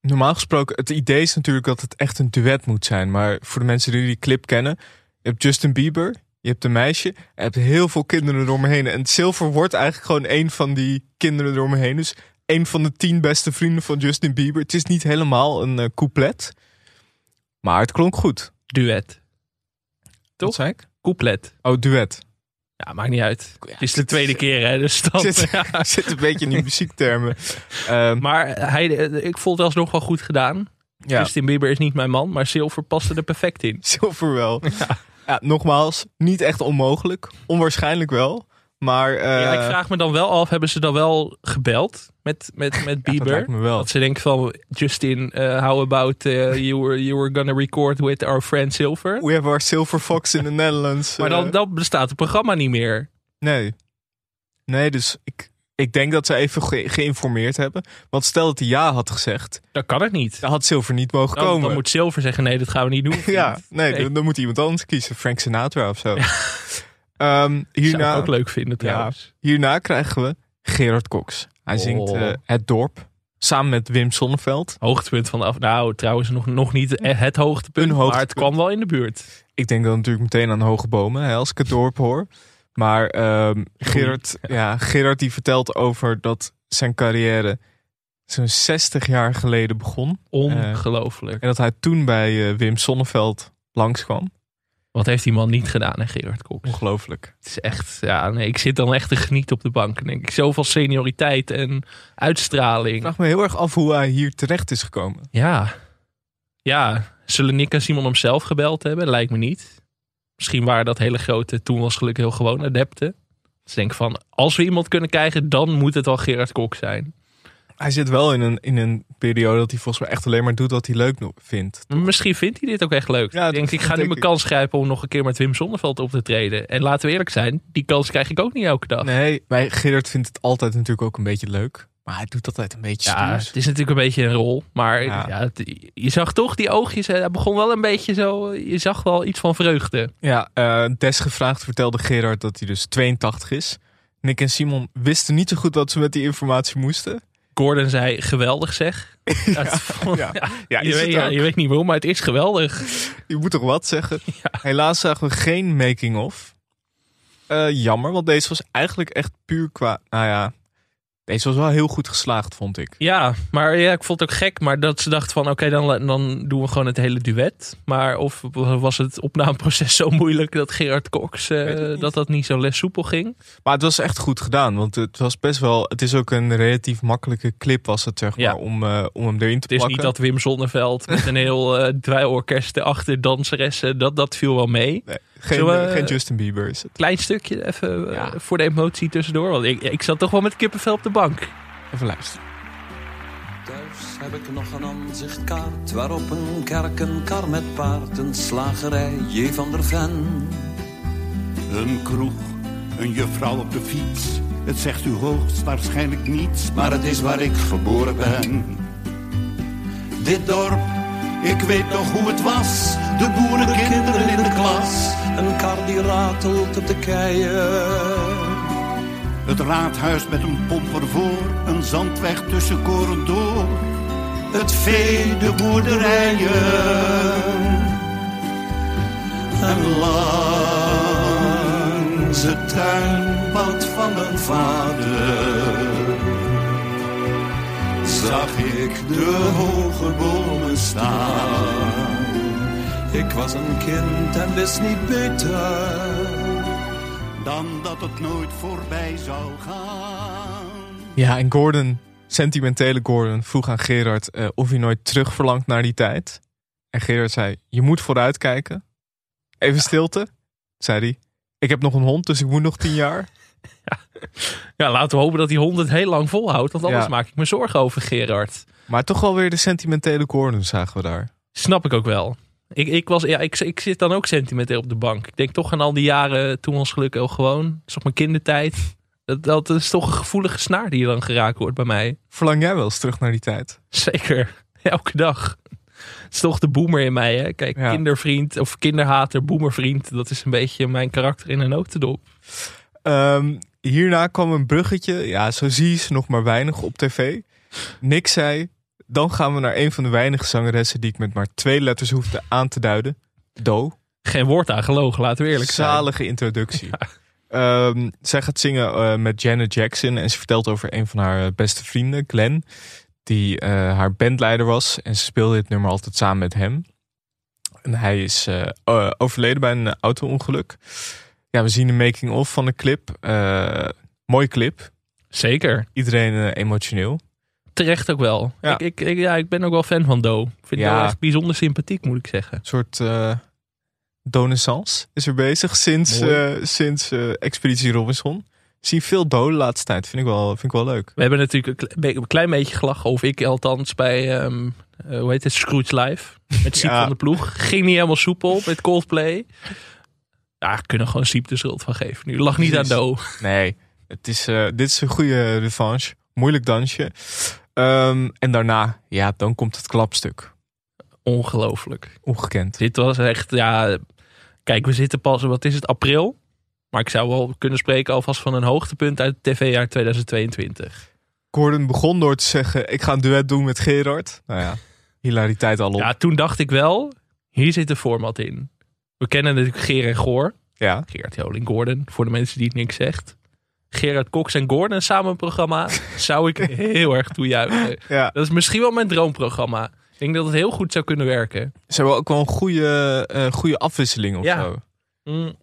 Speaker 1: normaal gesproken het idee is natuurlijk dat het echt een duet moet zijn. Maar voor de mensen die die clip kennen, je hebt Justin Bieber, je hebt een meisje, je hebt heel veel kinderen door me heen. En Silver wordt eigenlijk gewoon één van die kinderen door me heen. Dus één van de tien beste vrienden van Justin Bieber. Het is niet helemaal een eh, couplet, maar het klonk goed.
Speaker 2: Duet. Toch?
Speaker 1: Wat zei ik?
Speaker 2: Couplet.
Speaker 1: Oh, duet.
Speaker 2: Ja, maakt niet uit. het is de tweede keer hè, dus dan...
Speaker 1: zit,
Speaker 2: Ja.
Speaker 1: zit een beetje in die muziektermen. Ehm,
Speaker 2: Maar hij, eh, ik vond het alsnog wel goed gedaan.
Speaker 1: ja,
Speaker 2: Justin Bieber is niet mijn man, maar Silver paste er perfect in.
Speaker 1: Silver wel. Ja. nogmaals, niet echt onmogelijk. Onwaarschijnlijk wel. Maar eh,
Speaker 2: Ja, ik vraag me dan wel af, hebben ze dan wel gebeld met, met, met
Speaker 1: dat
Speaker 2: Bieber?
Speaker 1: lijkt me wel.
Speaker 2: Dat ze denken van, Justin, eh, how about eh, you, were, you were gonna record with our friend Silver?
Speaker 1: We have our Silver Fox in the Netherlands.
Speaker 2: Maar dan,
Speaker 1: eh,
Speaker 2: dan bestaat het programma niet meer.
Speaker 1: nee. Nee, dus ik, ik denk dat ze even ge- geïnformeerd hebben. Want stel dat hij ja had gezegd,
Speaker 2: Dat kan het niet.
Speaker 1: dan had Silver niet mogen
Speaker 2: Dan,
Speaker 1: komen.
Speaker 2: dan moet Silver zeggen, nee, dat gaan we niet doen.
Speaker 1: Ja,
Speaker 2: vriend.
Speaker 1: nee,
Speaker 2: Nee.
Speaker 1: Dan, dan moet iemand anders kiezen. Frank Sinatra of zo. Ehm,
Speaker 2: Zou ik
Speaker 1: hierna,
Speaker 2: ook leuk vinden trouwens.
Speaker 1: Hierna krijgen we Gerard Cox. Hij zingt
Speaker 2: Oh.
Speaker 1: eh, Het Dorp samen met Wim Sonneveld.
Speaker 2: Hoogtepunt van de af... Nou, trouwens nog, nog niet eh, het hoogtepunt,
Speaker 1: Een
Speaker 2: maar het
Speaker 1: hoogtepunt.
Speaker 2: kwam wel in de buurt.
Speaker 1: Ik denk dan natuurlijk meteen aan Hoge Bomen hè, als ik het dorp hoor. Maar ehm, Gerard, ja, Gerard die vertelt over dat zijn carrière zo'n 60 jaar geleden begon.
Speaker 2: Ongelooflijk.
Speaker 1: En dat hij toen bij eh, Wim Sonneveld langskwam.
Speaker 2: Wat heeft die man niet gedaan, hè, Gerard Cox?
Speaker 1: Ongelooflijk.
Speaker 2: Het is echt, ja, nee, ik zit dan echt te genieten op de bank. Denk ik. Zoveel senioriteit en
Speaker 1: Ik
Speaker 2: uitstraling.
Speaker 1: vraag me heel erg af hoe hij hier terecht is gekomen.
Speaker 2: Ja. Ja, zullen Nick en Simon hem zelf gebeld hebben? Lijkt me niet. Misschien waren dat hele grote, toen was gelukkig heel gewoon adepten. Dus ik denk van, als we iemand kunnen krijgen, dan moet het wel Gerard Kok zijn.
Speaker 1: Hij zit wel in een, in een periode dat hij volgens mij echt alleen maar doet wat hij leuk no- vindt.
Speaker 2: Maar Misschien vindt hij dit ook echt leuk.
Speaker 1: Ja, dat
Speaker 2: ik denk, ik ga nu
Speaker 1: denk
Speaker 2: mijn
Speaker 1: ik.
Speaker 2: kans grijpen om nog een keer met Wim Sonneveld op te treden. En laten we eerlijk zijn, die kans krijg ik ook niet elke dag.
Speaker 1: Nee, maar Gerard vindt het altijd natuurlijk ook een beetje leuk. Maar hij doet dat altijd een beetje
Speaker 2: Ja,
Speaker 1: ja,
Speaker 2: het is natuurlijk een beetje een rol. Maar ja.
Speaker 1: Ja.
Speaker 2: het- je zag toch die oogjes. hè, Hij begon wel een beetje zo. Je zag wel iets van vreugde.
Speaker 1: Ja, eh, desgevraagd vertelde Gerard dat hij dus 82 is. Nick en Simon wisten niet zo goed wat ze met die informatie moesten.
Speaker 2: Gordon zei: geweldig zeg. Dat vond-
Speaker 1: ja.
Speaker 2: ja,
Speaker 1: Ja,
Speaker 2: je,
Speaker 1: is
Speaker 2: weet,
Speaker 1: het
Speaker 2: ja,
Speaker 1: ook.
Speaker 2: je weet niet waarom, maar het is geweldig.
Speaker 1: Je moet toch wat zeggen? Helaas zagen we geen making-of. Eh, jammer, want deze was eigenlijk echt puur qua... Nou ja, deze was wel heel goed geslaagd, vond ik.
Speaker 2: Ja, maar ja, ik vond het ook gek. Maar dat ze dachten van, oké, dan, dan doen we gewoon het hele duet. Maar of was het opnameproces zo moeilijk dat Gerard Cox, eh,
Speaker 1: Weet ik niet.
Speaker 2: dat dat niet zo les soepel ging?
Speaker 1: Maar het was echt goed gedaan, want het was best wel... Het is ook een relatief makkelijke clip, was het, zeg maar,
Speaker 2: Ja.
Speaker 1: om, eh, om hem erin te
Speaker 2: Het is
Speaker 1: plakken.
Speaker 2: niet dat Wim Zonneveld met een heel eh dweilorkest erachter, danseressen, dat, dat viel wel mee.
Speaker 1: Geen,
Speaker 2: Zullen we-
Speaker 1: geen Justin Bieber is het.
Speaker 2: Klein stukje even eh,
Speaker 1: Ja.
Speaker 2: voor de emotie tussendoor, want ik, ik zat toch wel met kippenvel op de bank.
Speaker 1: Even luisteren.
Speaker 5: Thuis heb ik nog een aanzichtkaart waarop een kerk, een kar met paard, een slagerij, J. van der Ven.
Speaker 9: Een kroeg, een juffrouw op de fiets. Het zegt u hoogstwaarschijnlijk niets, maar het is waar ik geboren ben. Dit dorp Ik weet nog hoe het was, de boerenkinderen in de klas.
Speaker 5: Een kar die ratelt op de keien.
Speaker 9: Het raadhuis met een pomp ervoor, een zandweg tussen koren door. Het vee, de boerderijen. En langs het tuinpad van mijn vader zag ik de hoge bomen staan.
Speaker 5: Ik was een kind en wist niet beter.
Speaker 9: Dan dat het nooit voorbij zou gaan.
Speaker 1: Ja, en Gordon, sentimentele Gordon, vroeg aan Gerard eh, of hij nooit terug verlangt naar die tijd. En Gerard zei: Je moet vooruitkijken. Even stilte, zei hij. Ik heb nog een hond, dus ik moet nog tien jaar.
Speaker 2: Ja, laten we hopen dat die hond het heel lang volhoudt. Want anders
Speaker 1: Ja.
Speaker 2: maak ik me zorgen over Gerard.
Speaker 1: Maar toch wel weer de sentimentele Gordon zagen we daar.
Speaker 2: Snap ik ook wel. Ik, ik, was, ja, ik, ik zit dan ook sentimenteel op de bank. Ik denk toch aan al die jaren toen we ons geluk ook gewoon. Dat is op mijn kindertijd. Dat, dat is toch een gevoelige snaar die dan geraakt wordt bij mij.
Speaker 1: Verlang jij wel eens terug naar die tijd?
Speaker 2: Zeker. Elke dag. Het is toch de boomer in mij. Hè? Kijk,
Speaker 1: Ja.
Speaker 2: kindervriend of kinderhater, boomervriend. Dat is een beetje mijn karakter in een notendop.
Speaker 1: Ehm, hierna kwam een bruggetje. Ja, zo zie je ze nog maar weinig op tv. Nick zei: Dan gaan we naar een van de weinige zangeressen die ik met maar twee letters hoefde aan te duiden. Do.
Speaker 2: Geen woord aan gelogen, laten we eerlijk zijn.
Speaker 1: Zalige introductie. Ehm, zij gaat zingen eh, met Janet Jackson en ze vertelt over een van haar eh, beste vrienden, Glenn, die eh, haar bandleider was en ze speelde dit nummer altijd samen met hem. En hij is eh, eh, overleden bij een eh, auto-ongeluk. Ja, we zien de making-of van de clip. Eh mooie clip.
Speaker 2: Zeker.
Speaker 1: Iedereen eh, emotioneel.
Speaker 2: Terecht ook wel.
Speaker 1: Ja.
Speaker 2: Ik, ik, ik- ja, ik ben ook wel fan van Do. Ik vind
Speaker 1: Ja.
Speaker 2: hem echt bijzonder sympathiek, moet ik zeggen.
Speaker 1: Een soort eh donissance is er bezig sinds,
Speaker 2: Mooi.
Speaker 1: eh, sinds eh, Expeditie Robinson. Ik zie veel doden de laatste tijd. Vind ik wel, vind ik wel leuk.
Speaker 2: We hebben natuurlijk een kle- be- een klein beetje gelachen, of ik althans, bij, ehm, eh, hoe heet het, Scrooge Live. Met Siep
Speaker 1: Ja.
Speaker 2: van de Ploeg. Ging niet helemaal soepel met Coldplay. Ja, kunnen gewoon Siep de schuld van geven. Nu lag niet aan
Speaker 1: Precies.
Speaker 2: Do.
Speaker 1: Nee, het is, eh, dit is een goede revanche. Moeilijk dansje. Ehm, en daarna, ja, dan komt het klapstuk.
Speaker 2: Ongelooflijk.
Speaker 1: Ongekend.
Speaker 2: Dit was echt, ja... Kijk, we zitten pas, wat is het, april? Maar ik zou wel kunnen spreken alvast van een hoogtepunt uit het tv-jaar 2022.
Speaker 1: Gordon begon door te zeggen, ik ga een duet doen met Gerard. Nou ja, hilariteit al op. Ja.
Speaker 2: Ja, toen dacht ik wel, hier zit een format in. We kennen natuurlijk Geer en Goor. Gerard Joling Gordon, voor de mensen die het niks zegt. Gerard Cox en Gordon samen een programma zou ik heel erg toejuichen.
Speaker 1: Ja.
Speaker 2: Dat is misschien wel mijn droomprogramma. Ik denk dat het heel goed zou kunnen werken.
Speaker 1: Ze hebben ook wel een goede, eh, goede afwisseling of
Speaker 2: Ja.
Speaker 1: zo.
Speaker 2: Mm.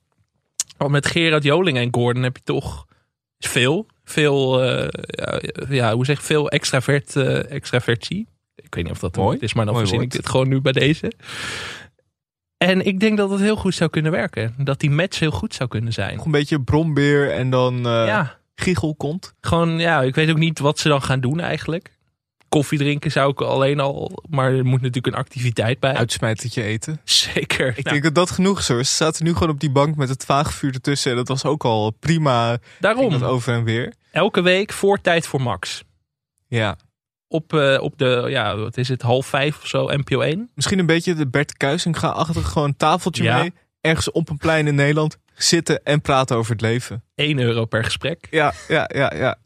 Speaker 2: Want met Gerard Joling en Gordon heb je toch veel, veel, eh, ja, ja, hoe zeg ik, veel extravert, eh, extravertie. Ik weet niet of dat een
Speaker 1: Mooi.
Speaker 2: woord is, maar dan
Speaker 1: Mooi
Speaker 2: verzin ik
Speaker 1: woord.
Speaker 2: dit gewoon nu bij deze. En ik denk dat het heel goed zou kunnen werken. Dat die match heel goed zou kunnen zijn.
Speaker 1: Nog een beetje brombeer en dan eh
Speaker 2: ja.
Speaker 1: gichelkont.
Speaker 2: Gewoon, ja, ik weet ook niet wat ze dan gaan doen eigenlijk. Koffie drinken zou ik alleen al, maar er moet natuurlijk een activiteit bij.
Speaker 1: Uitsmijtertje eten.
Speaker 2: Zeker.
Speaker 1: Ik
Speaker 2: Nou,
Speaker 1: denk dat dat genoeg is. hoor. Ze zaten nu gewoon op die bank met het vaagvuur ertussen. En dat was ook al prima. Ging dat
Speaker 2: daarom,
Speaker 1: over en weer.
Speaker 2: elke week voor tijd voor Max.
Speaker 1: Ja.
Speaker 2: Op, eh, op de, ja, wat is het, half vijf of zo, NPO 1.
Speaker 1: misschien een beetje de Bert Kuisinga-achtig. Gewoon een tafeltje
Speaker 2: Ja.
Speaker 1: mee. Ergens op een plein in Nederland zitten en praten over het leven.
Speaker 2: 1 euro per gesprek.
Speaker 1: Ja, ja, ja, ja.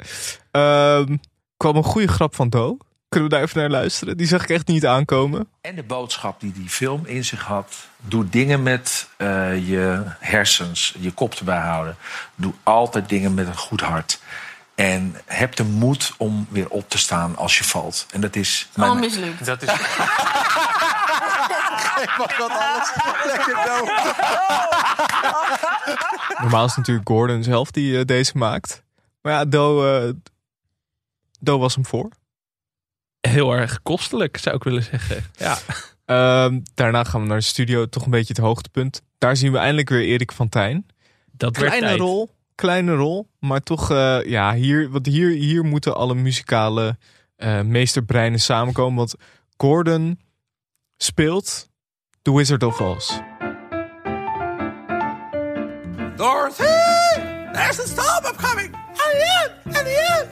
Speaker 1: Ehm, kwam een goede grap van Do. Kunnen we daar even naar luisteren? Die zag ik echt niet aankomen.
Speaker 10: En de boodschap die die film in zich had. Doe dingen met eh, je hersens, je kop erbij houden. Doe altijd dingen met een goed hart. En heb de moed om weer op te staan als je valt. En dat is mijn,
Speaker 3: mislukt.
Speaker 6: Dat is
Speaker 1: Normaal is het natuurlijk Gordon zelf die eh, deze maakt. Maar ja, Do, eh, Do was hem voor.
Speaker 2: Heel erg kostelijk, zou ik willen zeggen. Ja,
Speaker 1: Ehm, daarna gaan we naar de studio. Toch een beetje het hoogtepunt. Daar zien we eindelijk weer Erik van Tijn.
Speaker 2: dat werd
Speaker 1: kleine
Speaker 2: tijd.
Speaker 1: rol, kleine rol, maar toch, eh, ja, hier, want hier, hier moeten alle muzikale eh, meesterbreinen samenkomen. Want Gordon speelt The Wizard of Oz.
Speaker 10: Dorothy! There's a storm upcoming! Hurry up! Hurry up!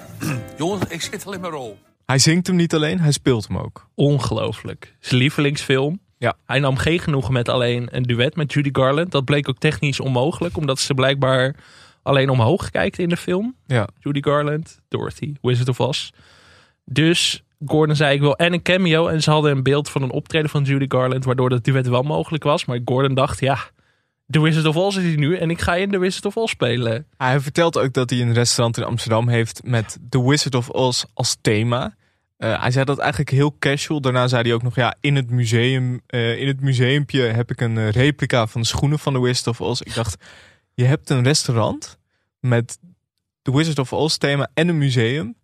Speaker 10: Jongens, ik zit al in mijn rol.
Speaker 1: Hij zingt hem niet alleen, hij speelt hem ook.
Speaker 2: Ongelooflijk. Zijn lievelingsfilm.
Speaker 1: Ja.
Speaker 2: Hij nam geen genoegen met alleen een duet met Judy Garland. Dat bleek ook technisch onmogelijk, omdat ze blijkbaar alleen omhoog kijkt in de film.
Speaker 1: Ja.
Speaker 2: Judy Garland, Dorothy, Wizard of Oz. Dus Gordon zei ik wil en een cameo. En ze hadden een beeld van een optreden van Judy Garland, waardoor dat duet wel mogelijk was. Maar Gordon dacht, ja, The Wizard of Oz is hier nu en ik ga in The Wizard of Oz spelen.
Speaker 1: Hij vertelt ook dat hij een restaurant in Amsterdam heeft met The Wizard of Oz als thema. Eh, hij zei dat eigenlijk heel casual. Daarna zei hij ook nog, ja, in het museum, eh, in het museumpje heb ik een eh, replica van de schoenen van The Wizard of Oz. Ik dacht, je hebt een restaurant met The Wizard of Oz thema en een museum.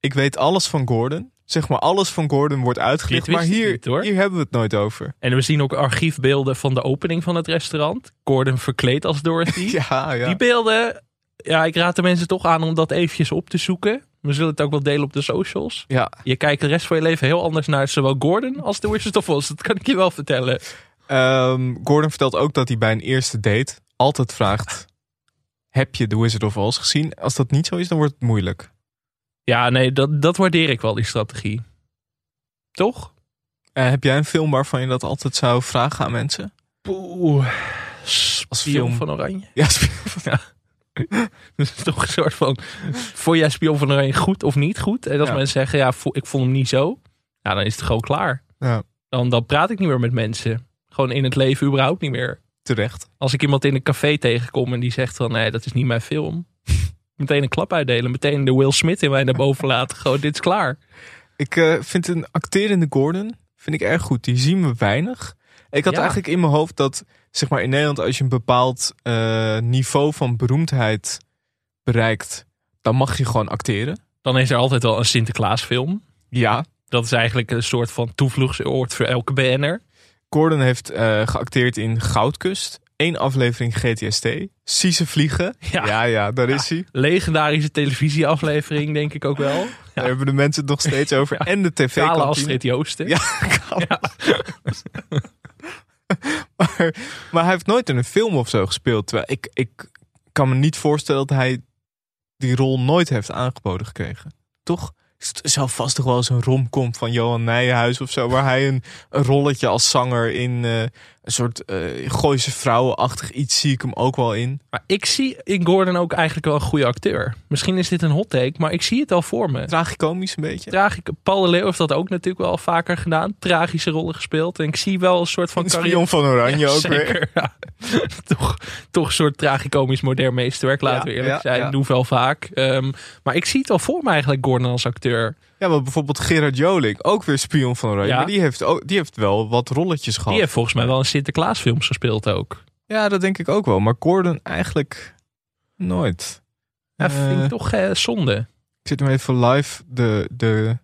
Speaker 1: Ik weet alles van Gordon. Zeg maar, alles van Gordon wordt uitgelegd.
Speaker 2: Dit
Speaker 1: Maar
Speaker 2: wist ik
Speaker 1: hier,
Speaker 2: niet, hoor.
Speaker 1: hier hebben we het nooit over.
Speaker 2: En we zien ook archiefbeelden van de opening van het restaurant. Gordon verkleed als Dorothy.
Speaker 1: Ja, ja.
Speaker 2: Die beelden, ja, ik raad de mensen toch aan om dat eventjes op te zoeken. We zullen het ook wel delen op de socials.
Speaker 1: ja.
Speaker 2: Je kijkt de rest van je leven heel anders naar zowel Gordon als de Wizard of Oz. Dat kan ik je wel vertellen.
Speaker 1: Ehm, Gordon vertelt ook dat hij bij een eerste date altijd vraagt: Heb je The Wizard of Oz gezien? Als dat niet zo is, dan wordt het moeilijk.
Speaker 2: Ja, nee, dat, dat waardeer ik wel, die strategie. Toch?
Speaker 1: Eh, heb jij een film waarvan je dat altijd zou vragen aan mensen?
Speaker 2: Poeh.
Speaker 1: Als
Speaker 2: Spion
Speaker 1: film.
Speaker 2: van Oranje.
Speaker 1: Ja, sp-
Speaker 2: Dat is toch een soort van, vond jij Spion van Oranje goed of niet goed? En als
Speaker 1: Ja.
Speaker 2: mensen zeggen, ja, vo- ik vond hem niet zo. Ja, dan is het gewoon klaar.
Speaker 1: Ja.
Speaker 2: Dan, dan praat ik niet meer met mensen. Gewoon in het leven überhaupt niet meer.
Speaker 1: terecht.
Speaker 2: als ik iemand in een café tegenkom en die zegt van nee, dat is niet mijn film. Meteen een klap uitdelen. Meteen de Will Smith in mij naar boven laten. Gewoon, dit is klaar.
Speaker 1: Ik eh, vind een acterende Gordon vind ik erg goed. Die zien we weinig. Ik had
Speaker 2: Ja.
Speaker 1: eigenlijk in mijn hoofd dat, zeg maar, in Nederland, als je een bepaald eh, niveau van beroemdheid bereikt, dan mag je gewoon acteren.
Speaker 2: Dan is er altijd wel een Sinterklaasfilm.
Speaker 1: Ja,
Speaker 2: Dat is eigenlijk een soort van toevluchtsoord voor elke BN'er.
Speaker 1: Gordon heeft eh, geacteerd in Goudkust. Eén aflevering GTST. Zie ze vliegen.
Speaker 2: Ja.
Speaker 1: Ja, ja, daar is hij.
Speaker 2: Legendarische televisieaflevering, denk ik ook wel.
Speaker 1: Daar hebben de mensen het nog steeds over. En de
Speaker 2: Kale
Speaker 1: tv-kantine.
Speaker 2: Astrid Joosten.
Speaker 1: Ja,
Speaker 2: Ja.
Speaker 1: Maar, maar hij heeft nooit in een film of zo gespeeld. Terwijl ik, ik kan me niet voorstellen dat hij die rol nooit heeft aangeboden gekregen. Toch? Er zou vast toch wel eens een romcom van Johan Nijenhuis of zo... waar hij een, een rolletje als zanger in eh, een soort eh Gooise vrouwenachtig iets... zie ik hem ook wel in.
Speaker 2: Maar ik zie in Gordon ook eigenlijk wel een goede acteur. Misschien is dit een hot take, maar ik zie het al voor me.
Speaker 1: Tragicomisch een beetje.
Speaker 2: Tragisch, Paul de Leeuw heeft dat ook natuurlijk wel vaker gedaan. Tragische rollen gespeeld. En ik zie wel een soort van
Speaker 1: Een
Speaker 2: carrière.
Speaker 1: spion van Oranje ook weer.
Speaker 2: Zeker, ja. toch, toch een soort tragicomisch modern meesterwerk, laten
Speaker 1: Ja,
Speaker 2: we eerlijk
Speaker 1: ja,
Speaker 2: zijn.
Speaker 1: ja.
Speaker 2: Doe wel vaak. Ehm, maar ik zie het al voor me eigenlijk, Gordon als acteur.
Speaker 1: Ja, maar bijvoorbeeld Gerard Joling, ook weer spion van Oranje.
Speaker 2: Ja.
Speaker 1: Maar die heeft, ook, die heeft wel wat rolletjes
Speaker 2: Die
Speaker 1: gehad.
Speaker 2: heeft volgens mij wel in Sinterklaasfilms gespeeld ook.
Speaker 1: Ja, dat denk ik ook wel. Maar Gordon eigenlijk nooit.
Speaker 2: Dat vind
Speaker 1: Eh,
Speaker 2: ik toch eh, zonde.
Speaker 1: Ik zit nu even live de, de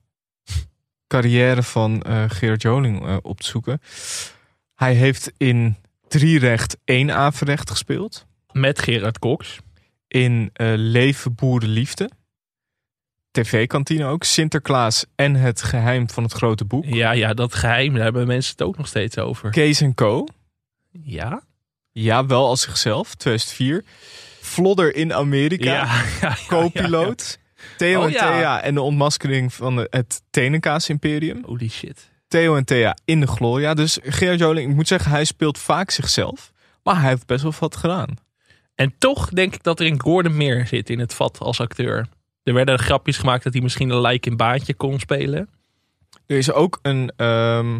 Speaker 1: carrière van eh Gerard Joling eh, op te zoeken. Hij heeft in drie recht één averecht gespeeld.
Speaker 2: Met Gerard Cox.
Speaker 1: In eh, Leven Boerenliefde. TV-kantine ook. Sinterklaas en het geheim van het grote boek.
Speaker 2: Ja, ja, dat geheim, daar hebben mensen het ook nog steeds over.
Speaker 1: Kees en Co.
Speaker 2: Ja?
Speaker 1: Ja, wel als zichzelf. 2004. Flodder in Amerika.
Speaker 2: Ja, ja,
Speaker 1: Co-piloot. Theo
Speaker 2: Oh,
Speaker 1: en
Speaker 2: ja.
Speaker 1: Thea en de ontmaskering van de- het Tenenkaas Imperium.
Speaker 2: Holy shit.
Speaker 1: Theo en Thea in de Gloria. Dus Gerard Joling, ik moet zeggen, hij speelt vaak zichzelf. Maar hij heeft best wel wat gedaan.
Speaker 2: En toch denk ik dat er in Gordon meer zit in het vat als acteur. Er werden grapjes gemaakt dat hij misschien een lijk in baantje kon spelen.
Speaker 1: Er is ook een... ehm,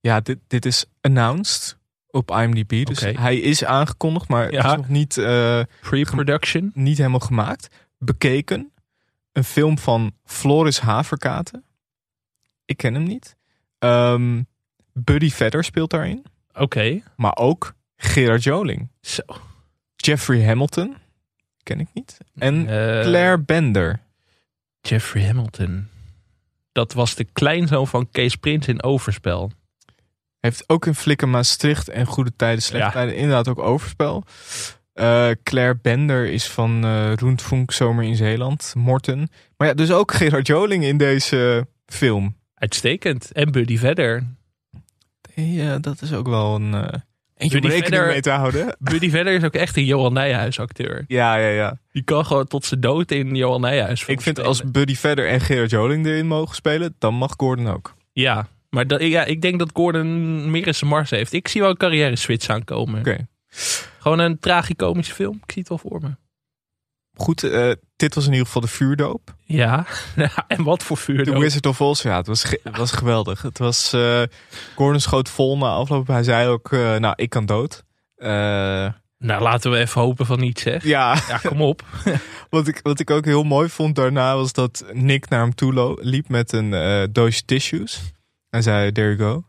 Speaker 1: ja, dit, dit is announced op IMDb. Dus
Speaker 2: Oké.
Speaker 1: hij is aangekondigd, maar
Speaker 2: Ja.
Speaker 1: is nog niet... eh,
Speaker 2: Pre-production.
Speaker 1: niet helemaal gemaakt. Bekeken. Een film van Floris Haverkaten. Ik ken hem niet. Ehm, Buddy Vedder speelt daarin.
Speaker 2: Oké.
Speaker 1: Maar ook Gerard Joling.
Speaker 2: Zo.
Speaker 1: Jeffrey Hamilton. Ken ik niet. En
Speaker 2: Eh,
Speaker 1: Hm. Claire Bender.
Speaker 2: Jeffrey Hamilton. Dat was de kleinzoon van Kees Prins in Overspel.
Speaker 1: Heeft ook in Flikken Maastricht en Goede Tijden, Slechte
Speaker 2: Ja.
Speaker 1: Tijden. Inderdaad ook overspel. Eh, Claire Bender is van eh Roentvonk Zomer in Zeeland. Morten. Maar ja, dus ook Gerard Joling in deze film.
Speaker 2: Uitstekend. En Buddy verder.
Speaker 1: Ja, dat is ook wel een. eh, En je
Speaker 2: Buddy
Speaker 1: rekening
Speaker 2: verder-
Speaker 1: mee te houden.
Speaker 2: Buddy Vedder is ook echt een Johan Nijhuis acteur.
Speaker 1: Ja, ja, ja.
Speaker 2: Die kan gewoon tot zijn dood in Johan Nijhuis
Speaker 1: Ik
Speaker 2: films
Speaker 1: vind
Speaker 2: spelen.
Speaker 1: als Buddy Vedder en Gerard Joling erin mogen spelen, dan mag Gordon ook.
Speaker 2: Ja, maar dat, ja, ik denk dat Gordon meer in zijn mars heeft. Ik zie wel een carrière switch aankomen.
Speaker 1: Oké.
Speaker 2: Gewoon een tragicomische film. Ik zie het wel voor me.
Speaker 1: Goed, eh, dit was in ieder geval de vuurdoop.
Speaker 2: Ja, en wat voor vuur
Speaker 1: De
Speaker 2: dan.
Speaker 1: Wizard of Oz, ja, het was, ge- het was geweldig. Het was, eh, Gordon schoot vol na afloop. Hij zei ook, eh, nou, ik kan dood. Eh,
Speaker 2: Nou, laten we even hopen van niet, zeg.
Speaker 1: ja,
Speaker 2: Ja, kom op.
Speaker 1: wat ik, wat ik ook heel mooi vond daarna was dat Nick naar hem toe lo- liep met een eh, doosje tissues. En zei, there you go.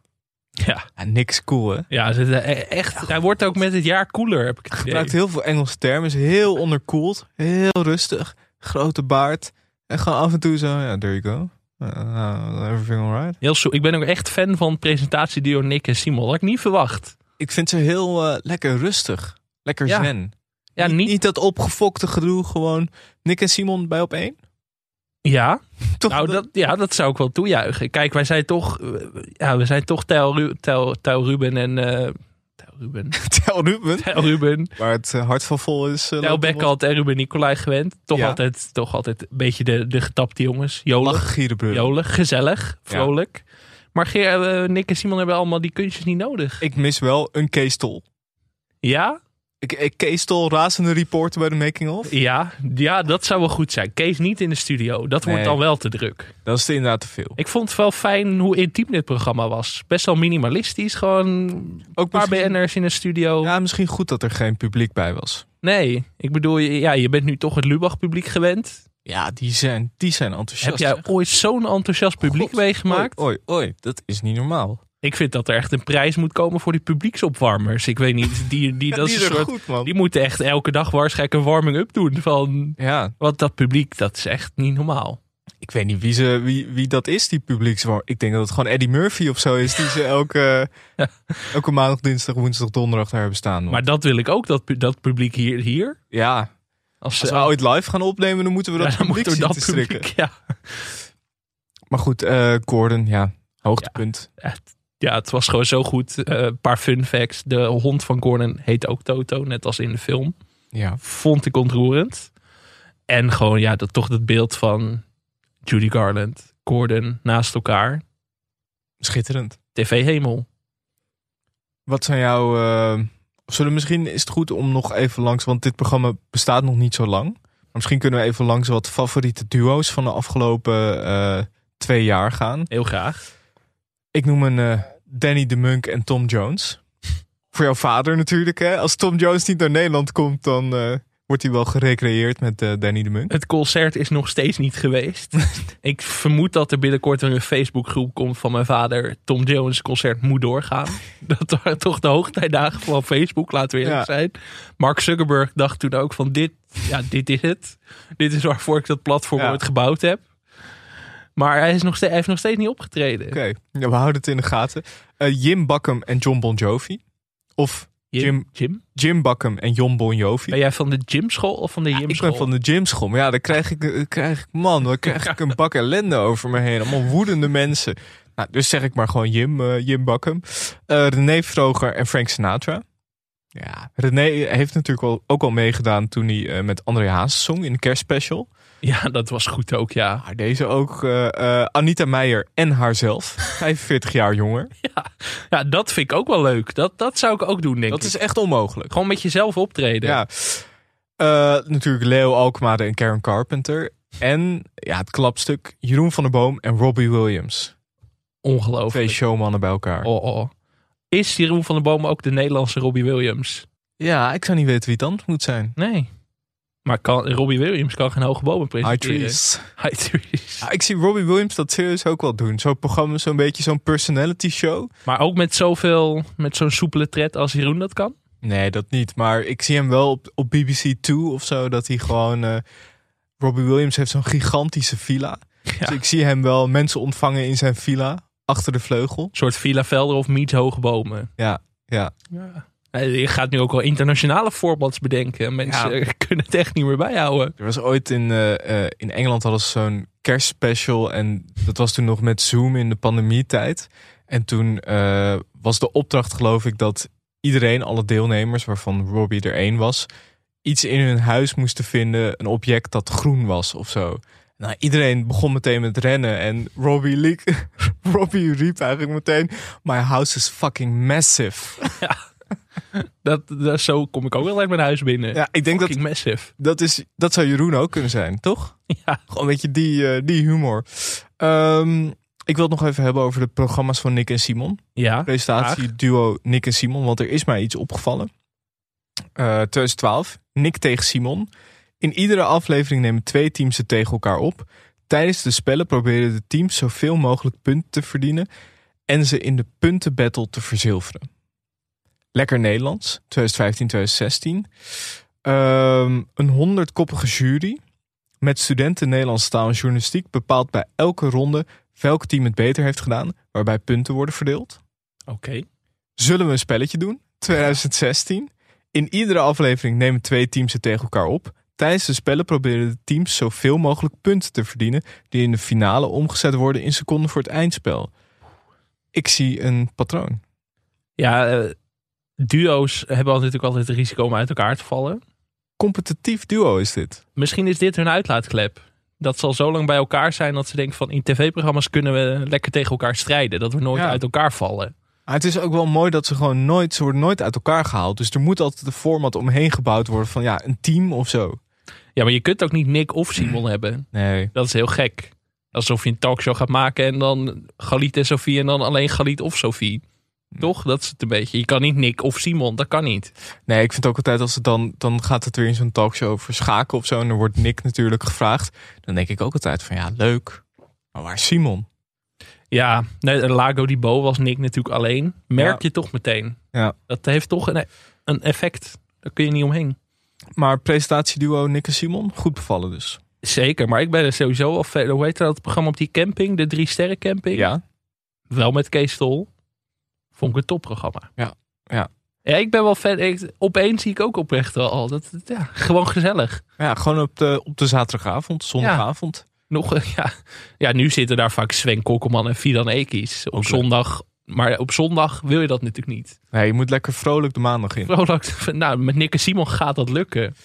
Speaker 2: Ja,
Speaker 1: Ja, Nick is cool, hè?
Speaker 2: ja ze- e- echt, hij wordt ook met het jaar cooler, heb ik het idee.
Speaker 1: Gebruikt heel veel Engelse termen. Is heel onderkoeld. Heel rustig. Grote baard. En gewoon af en toe zo. Ja, there you go. Eh, everything alright.
Speaker 2: Heel zo, ik ben ook echt fan van presentatieduo Nick en Simon. Dat had ik niet verwacht.
Speaker 1: Ik vind ze heel eh, lekker rustig. Lekker
Speaker 2: Ja.
Speaker 1: zen.
Speaker 2: Ja,
Speaker 1: niet,
Speaker 2: niet,
Speaker 1: niet dat opgefokte gedoe. Gewoon Nick en Simon bij op één.
Speaker 2: ja,
Speaker 1: Toch?
Speaker 2: nou, dat, ja, dat zou ik wel toejuichen. Kijk, wij zijn toch, eh, ja, we zijn toch Tel, Ru, Tel, Tel Ruben en... eh Tel Ruben.
Speaker 1: Tel Ruben.
Speaker 2: Tel Ruben.
Speaker 1: Waar het eh, hart van vol is. eh,
Speaker 2: Tel
Speaker 1: loopt nog
Speaker 2: Bekkant en Ruben Nicolai gewend. Toch,
Speaker 1: Ja.
Speaker 2: altijd, toch altijd een beetje de, de getapte jongens.
Speaker 1: wat
Speaker 2: Jolig,
Speaker 1: Lachen Gierenbrullen.
Speaker 2: jolig, gezellig, vrolijk. Maar Geer, eh, Nick en Simon hebben allemaal die kunstjes niet nodig.
Speaker 1: Ik mis wel een Kees Tol.
Speaker 2: Ja,
Speaker 1: Ik, ik, Kees Tol, razende reporter bij de Making of.
Speaker 2: ja, ja, dat zou wel goed zijn. Kees niet in de studio. Dat wordt
Speaker 1: Nee.
Speaker 2: dan wel te druk.
Speaker 1: Dat is inderdaad te veel.
Speaker 2: Ik vond het wel fijn hoe intiem dit programma was. Best wel minimalistisch. Gewoon
Speaker 1: Ook
Speaker 2: een paar
Speaker 1: misschien-
Speaker 2: BN'ers in een studio.
Speaker 1: Ja, misschien goed dat er geen publiek bij was.
Speaker 2: Nee, ik bedoel, ja, je bent nu toch het Lubach-publiek gewend.
Speaker 1: Ja, die zijn, die zijn enthousiast.
Speaker 2: Heb jij ooit zo'n enthousiast publiek meegemaakt?
Speaker 1: Oei, oei, oei, dat is niet normaal.
Speaker 2: Ik vind dat er echt een prijs moet komen voor die publieksopwarmers. Ik weet niet, die, die, dat
Speaker 1: die
Speaker 2: is een soort,
Speaker 1: goed, man.
Speaker 2: die moeten echt elke dag waarschijnlijk een warming-up doen. Van,
Speaker 1: Ja,
Speaker 2: want dat publiek, dat is echt niet normaal.
Speaker 1: ik weet niet wie, ze, wie, wie dat is, die publiekswarm. Ik denk dat het gewoon Eddie Murphy of zo is, die ze elke, elke maandag, dinsdag, woensdag, donderdag daar hebben staan. man.
Speaker 2: Maar dat wil ik ook, dat, pu- dat publiek hier. hier.
Speaker 1: ja,
Speaker 2: Als,
Speaker 1: als
Speaker 2: ze-
Speaker 1: we ooit live gaan opnemen, dan moeten we
Speaker 2: ja,
Speaker 1: dat
Speaker 2: dan
Speaker 1: publiek
Speaker 2: moeten we
Speaker 1: zien
Speaker 2: dat
Speaker 1: te strikken.
Speaker 2: publiek. Ja.
Speaker 1: Maar goed, eh, Gordon, ja, hoogtepunt.
Speaker 2: ja, het was gewoon zo goed. Eh, Een paar fun facts. De hond van Gordon heet ook Toto, net als in de film.
Speaker 1: Ja.
Speaker 2: Vond ik ontroerend. En gewoon, ja, dat, toch dat beeld van Judy Garland, Gordon naast elkaar.
Speaker 1: schitterend.
Speaker 2: TV-hemel.
Speaker 1: Wat zijn jouw... eh, zullen misschien is het goed om nog even langs... Want dit programma bestaat nog niet zo lang. Maar misschien kunnen we even langs wat favoriete duo's van de afgelopen eh, twee jaar gaan.
Speaker 2: Heel graag.
Speaker 1: Ik noem een eh, Danny de Munk en Tom Jones. Voor jouw vader natuurlijk. Hè? Als Tom Jones niet naar Nederland komt, dan eh, wordt hij wel gerecreëerd met eh, Danny de Munk.
Speaker 2: Het concert is nog steeds niet geweest. ik vermoed dat er binnenkort weer een Facebookgroep komt van mijn vader. Tom Jones concert moet doorgaan. dat waren toch de hoogtijdagen van Facebook, laten we eerlijk
Speaker 1: Ja.
Speaker 2: zijn. Mark Zuckerberg dacht toen ook van dit, ja, dit is het. Dit is waarvoor ik dat platform
Speaker 1: Ja.
Speaker 2: ooit gebouwd heb. Maar hij, is nog steeds, hij heeft nog steeds niet opgetreden.
Speaker 1: Oké, ja, we houden het in de gaten. Eh, Jim Buckham en John Bon Jovi. Of Jim.
Speaker 2: Jim?
Speaker 1: Jim Buckham en John Bon Jovi.
Speaker 2: Ben jij van de gymschool of van de
Speaker 1: Ik
Speaker 2: gymschool?
Speaker 1: ben van de gymschool. Maar ja, daar krijg ik, eh, krijg ik man, daar krijg ik een bak ellende over me heen. Allemaal woedende mensen. Nou, dus zeg ik maar gewoon Jim, eh, Jim Bakkum. Eh, René Vroger en Frank Sinatra. Ja, René heeft natuurlijk al, ook al meegedaan toen hij eh, met André Haas zong in de kerstspecial.
Speaker 2: Ja, dat was goed ook, ja.
Speaker 1: Maar deze ook eh, eh, Anita Meijer en haarzelf. 45 jaar jonger.
Speaker 2: Ja, dat vind ik ook wel leuk. Dat, dat zou ik ook doen, denk
Speaker 1: Dat
Speaker 2: ik.
Speaker 1: is echt onmogelijk.
Speaker 2: Gewoon met jezelf optreden.
Speaker 1: Ja. Eh, natuurlijk Leo Alkmaar en Karen Carpenter. En ja, het klapstuk Jeroen van der Boom en Robbie Williams. Twee
Speaker 2: Ongelooflijk.
Speaker 1: showmannen bij elkaar.
Speaker 2: Oh, oh. Is Jeroen van den Boom ook de Nederlandse Robbie Williams?
Speaker 1: Ja, ik zou niet weten wie het anders moet zijn.
Speaker 2: Nee. Maar kan, Robbie Williams kan geen hoge bomen
Speaker 1: High
Speaker 2: presenteren.
Speaker 1: Trees.
Speaker 2: High trees.
Speaker 1: Ja, ik zie Robbie Williams dat serieus ook wel doen. Zo'n programma, zo'n beetje zo'n personality show.
Speaker 2: Maar ook met zoveel, met zo'n soepele tred als Jeroen dat kan?
Speaker 1: Nee, dat niet. Maar ik zie hem wel op, op BBC 2 of zo. Dat hij gewoon... eh, Robbie Williams heeft zo'n gigantische villa. Dus ik zie hem wel mensen ontvangen in zijn villa. Achter de vleugel.
Speaker 2: Een soort Villa Velder of Miet Hoge Bomen.
Speaker 1: Ja, ja.
Speaker 2: Eh, Je gaat nu ook wel internationale voorbeelds bedenken. Mensen kunnen het echt niet meer bijhouden.
Speaker 1: Er was ooit in, eh, eh, in Engeland hadden ze zo'n kerstspecial. En dat was toen nog met Zoom in de pandemietijd. En toen eh, was de opdracht geloof ik dat iedereen, alle deelnemers, waarvan Robbie er één was, iets in hun huis moesten vinden, een object dat groen was of zo. Nou, iedereen begon meteen met rennen en Robbie, liep- Robbie riep eigenlijk meteen: My house is fucking massive.
Speaker 2: Dat, dat, zo kom ik ook altijd mijn huis binnen.
Speaker 1: Ja, ik denk dat
Speaker 2: Fucking massive.
Speaker 1: dat, is, dat zou Jeroen ook kunnen zijn, toch?
Speaker 2: Ja.
Speaker 1: Gewoon een beetje die, eh, die humor. Ehm, ik wil het nog even hebben over de programma's van Nick en Simon.
Speaker 2: ja.
Speaker 1: Presentatieduo Nick en Simon, want er is mij iets opgevallen. Eh 2012, Nick tegen Simon. In iedere aflevering nemen twee teams het tegen elkaar op. Tijdens de spellen proberen de teams zoveel mogelijk punten te verdienen en ze in de puntenbattle te verzilveren. Lekker Nederlands, 2015-2016. Ehm, een honderdkoppige jury met studenten Nederlandse taal en journalistiek bepaalt bij elke ronde welk team het beter heeft gedaan, waarbij punten worden verdeeld.
Speaker 2: Oké.
Speaker 1: Zullen we een spelletje doen? 2016. In iedere aflevering nemen twee teams het tegen elkaar op. Tijdens de spellen proberen de teams zoveel mogelijk punten te verdienen, die in de finale omgezet worden in seconden voor het eindspel. Ik zie een patroon.
Speaker 2: Ja, eh, duo's hebben natuurlijk altijd het risico om uit elkaar te vallen.
Speaker 1: Competitief duo is dit.
Speaker 2: Misschien is dit hun uitlaatklep. Dat zal zo lang bij elkaar zijn dat ze denken van in tv-programma's kunnen we lekker tegen elkaar strijden. Dat we nooit
Speaker 1: Ja.
Speaker 2: uit elkaar vallen.
Speaker 1: Maar het is ook wel mooi dat ze gewoon nooit, ze worden nooit uit elkaar gehaald. Dus er moet altijd een format omheen gebouwd worden van ja, een team of zo.
Speaker 2: Ja, maar je kunt ook niet Nick of Simon hebben.
Speaker 1: Nee.
Speaker 2: Dat is heel gek. Alsof je een talkshow gaat maken en dan Galit en Sofie en dan alleen Galit of Sofie. Toch? Dat is het een beetje. Je kan niet Nick of Simon, dat kan niet.
Speaker 1: Nee, ik vind ook altijd als het dan, dan gaat het weer in zo'n talkshow over schaken of zo. En er wordt Nick natuurlijk gevraagd. Dan denk ik ook altijd van ja, leuk. Maar waar is Simon?
Speaker 2: Ja, nee, Lago di Bo was Nick natuurlijk alleen. Merk
Speaker 1: Ja.
Speaker 2: je toch meteen.
Speaker 1: Ja.
Speaker 2: Dat heeft toch een, een effect. Daar kun je niet omheen.
Speaker 1: Maar presentatieduo Nick en Simon, goed bevallen dus.
Speaker 2: Zeker, maar ik ben er sowieso al verder. Hoe heet dat programma op die camping? De Drie Sterren Camping?
Speaker 1: Ja.
Speaker 2: Wel met Kees Tol. Vond ik een topprogramma.
Speaker 1: Ja, ja.
Speaker 2: Ja, ik ben wel fan. Ik, opeens zie ik ook oprecht wel al. Dat, dat- ja, gewoon gezellig.
Speaker 1: Ja, gewoon op de, op de zaterdagavond, zondagavond.
Speaker 2: Nog, eh, ja. ja, nu zitten daar vaak Sven Kokkelman en Fidan Ekies. Op
Speaker 1: Ook leuk.
Speaker 2: zondag. Maar op zondag wil je dat natuurlijk niet.
Speaker 1: Nee, je moet lekker vrolijk de maandag in.
Speaker 2: Vrolijk, nou, met Nick en Simon gaat dat lukken.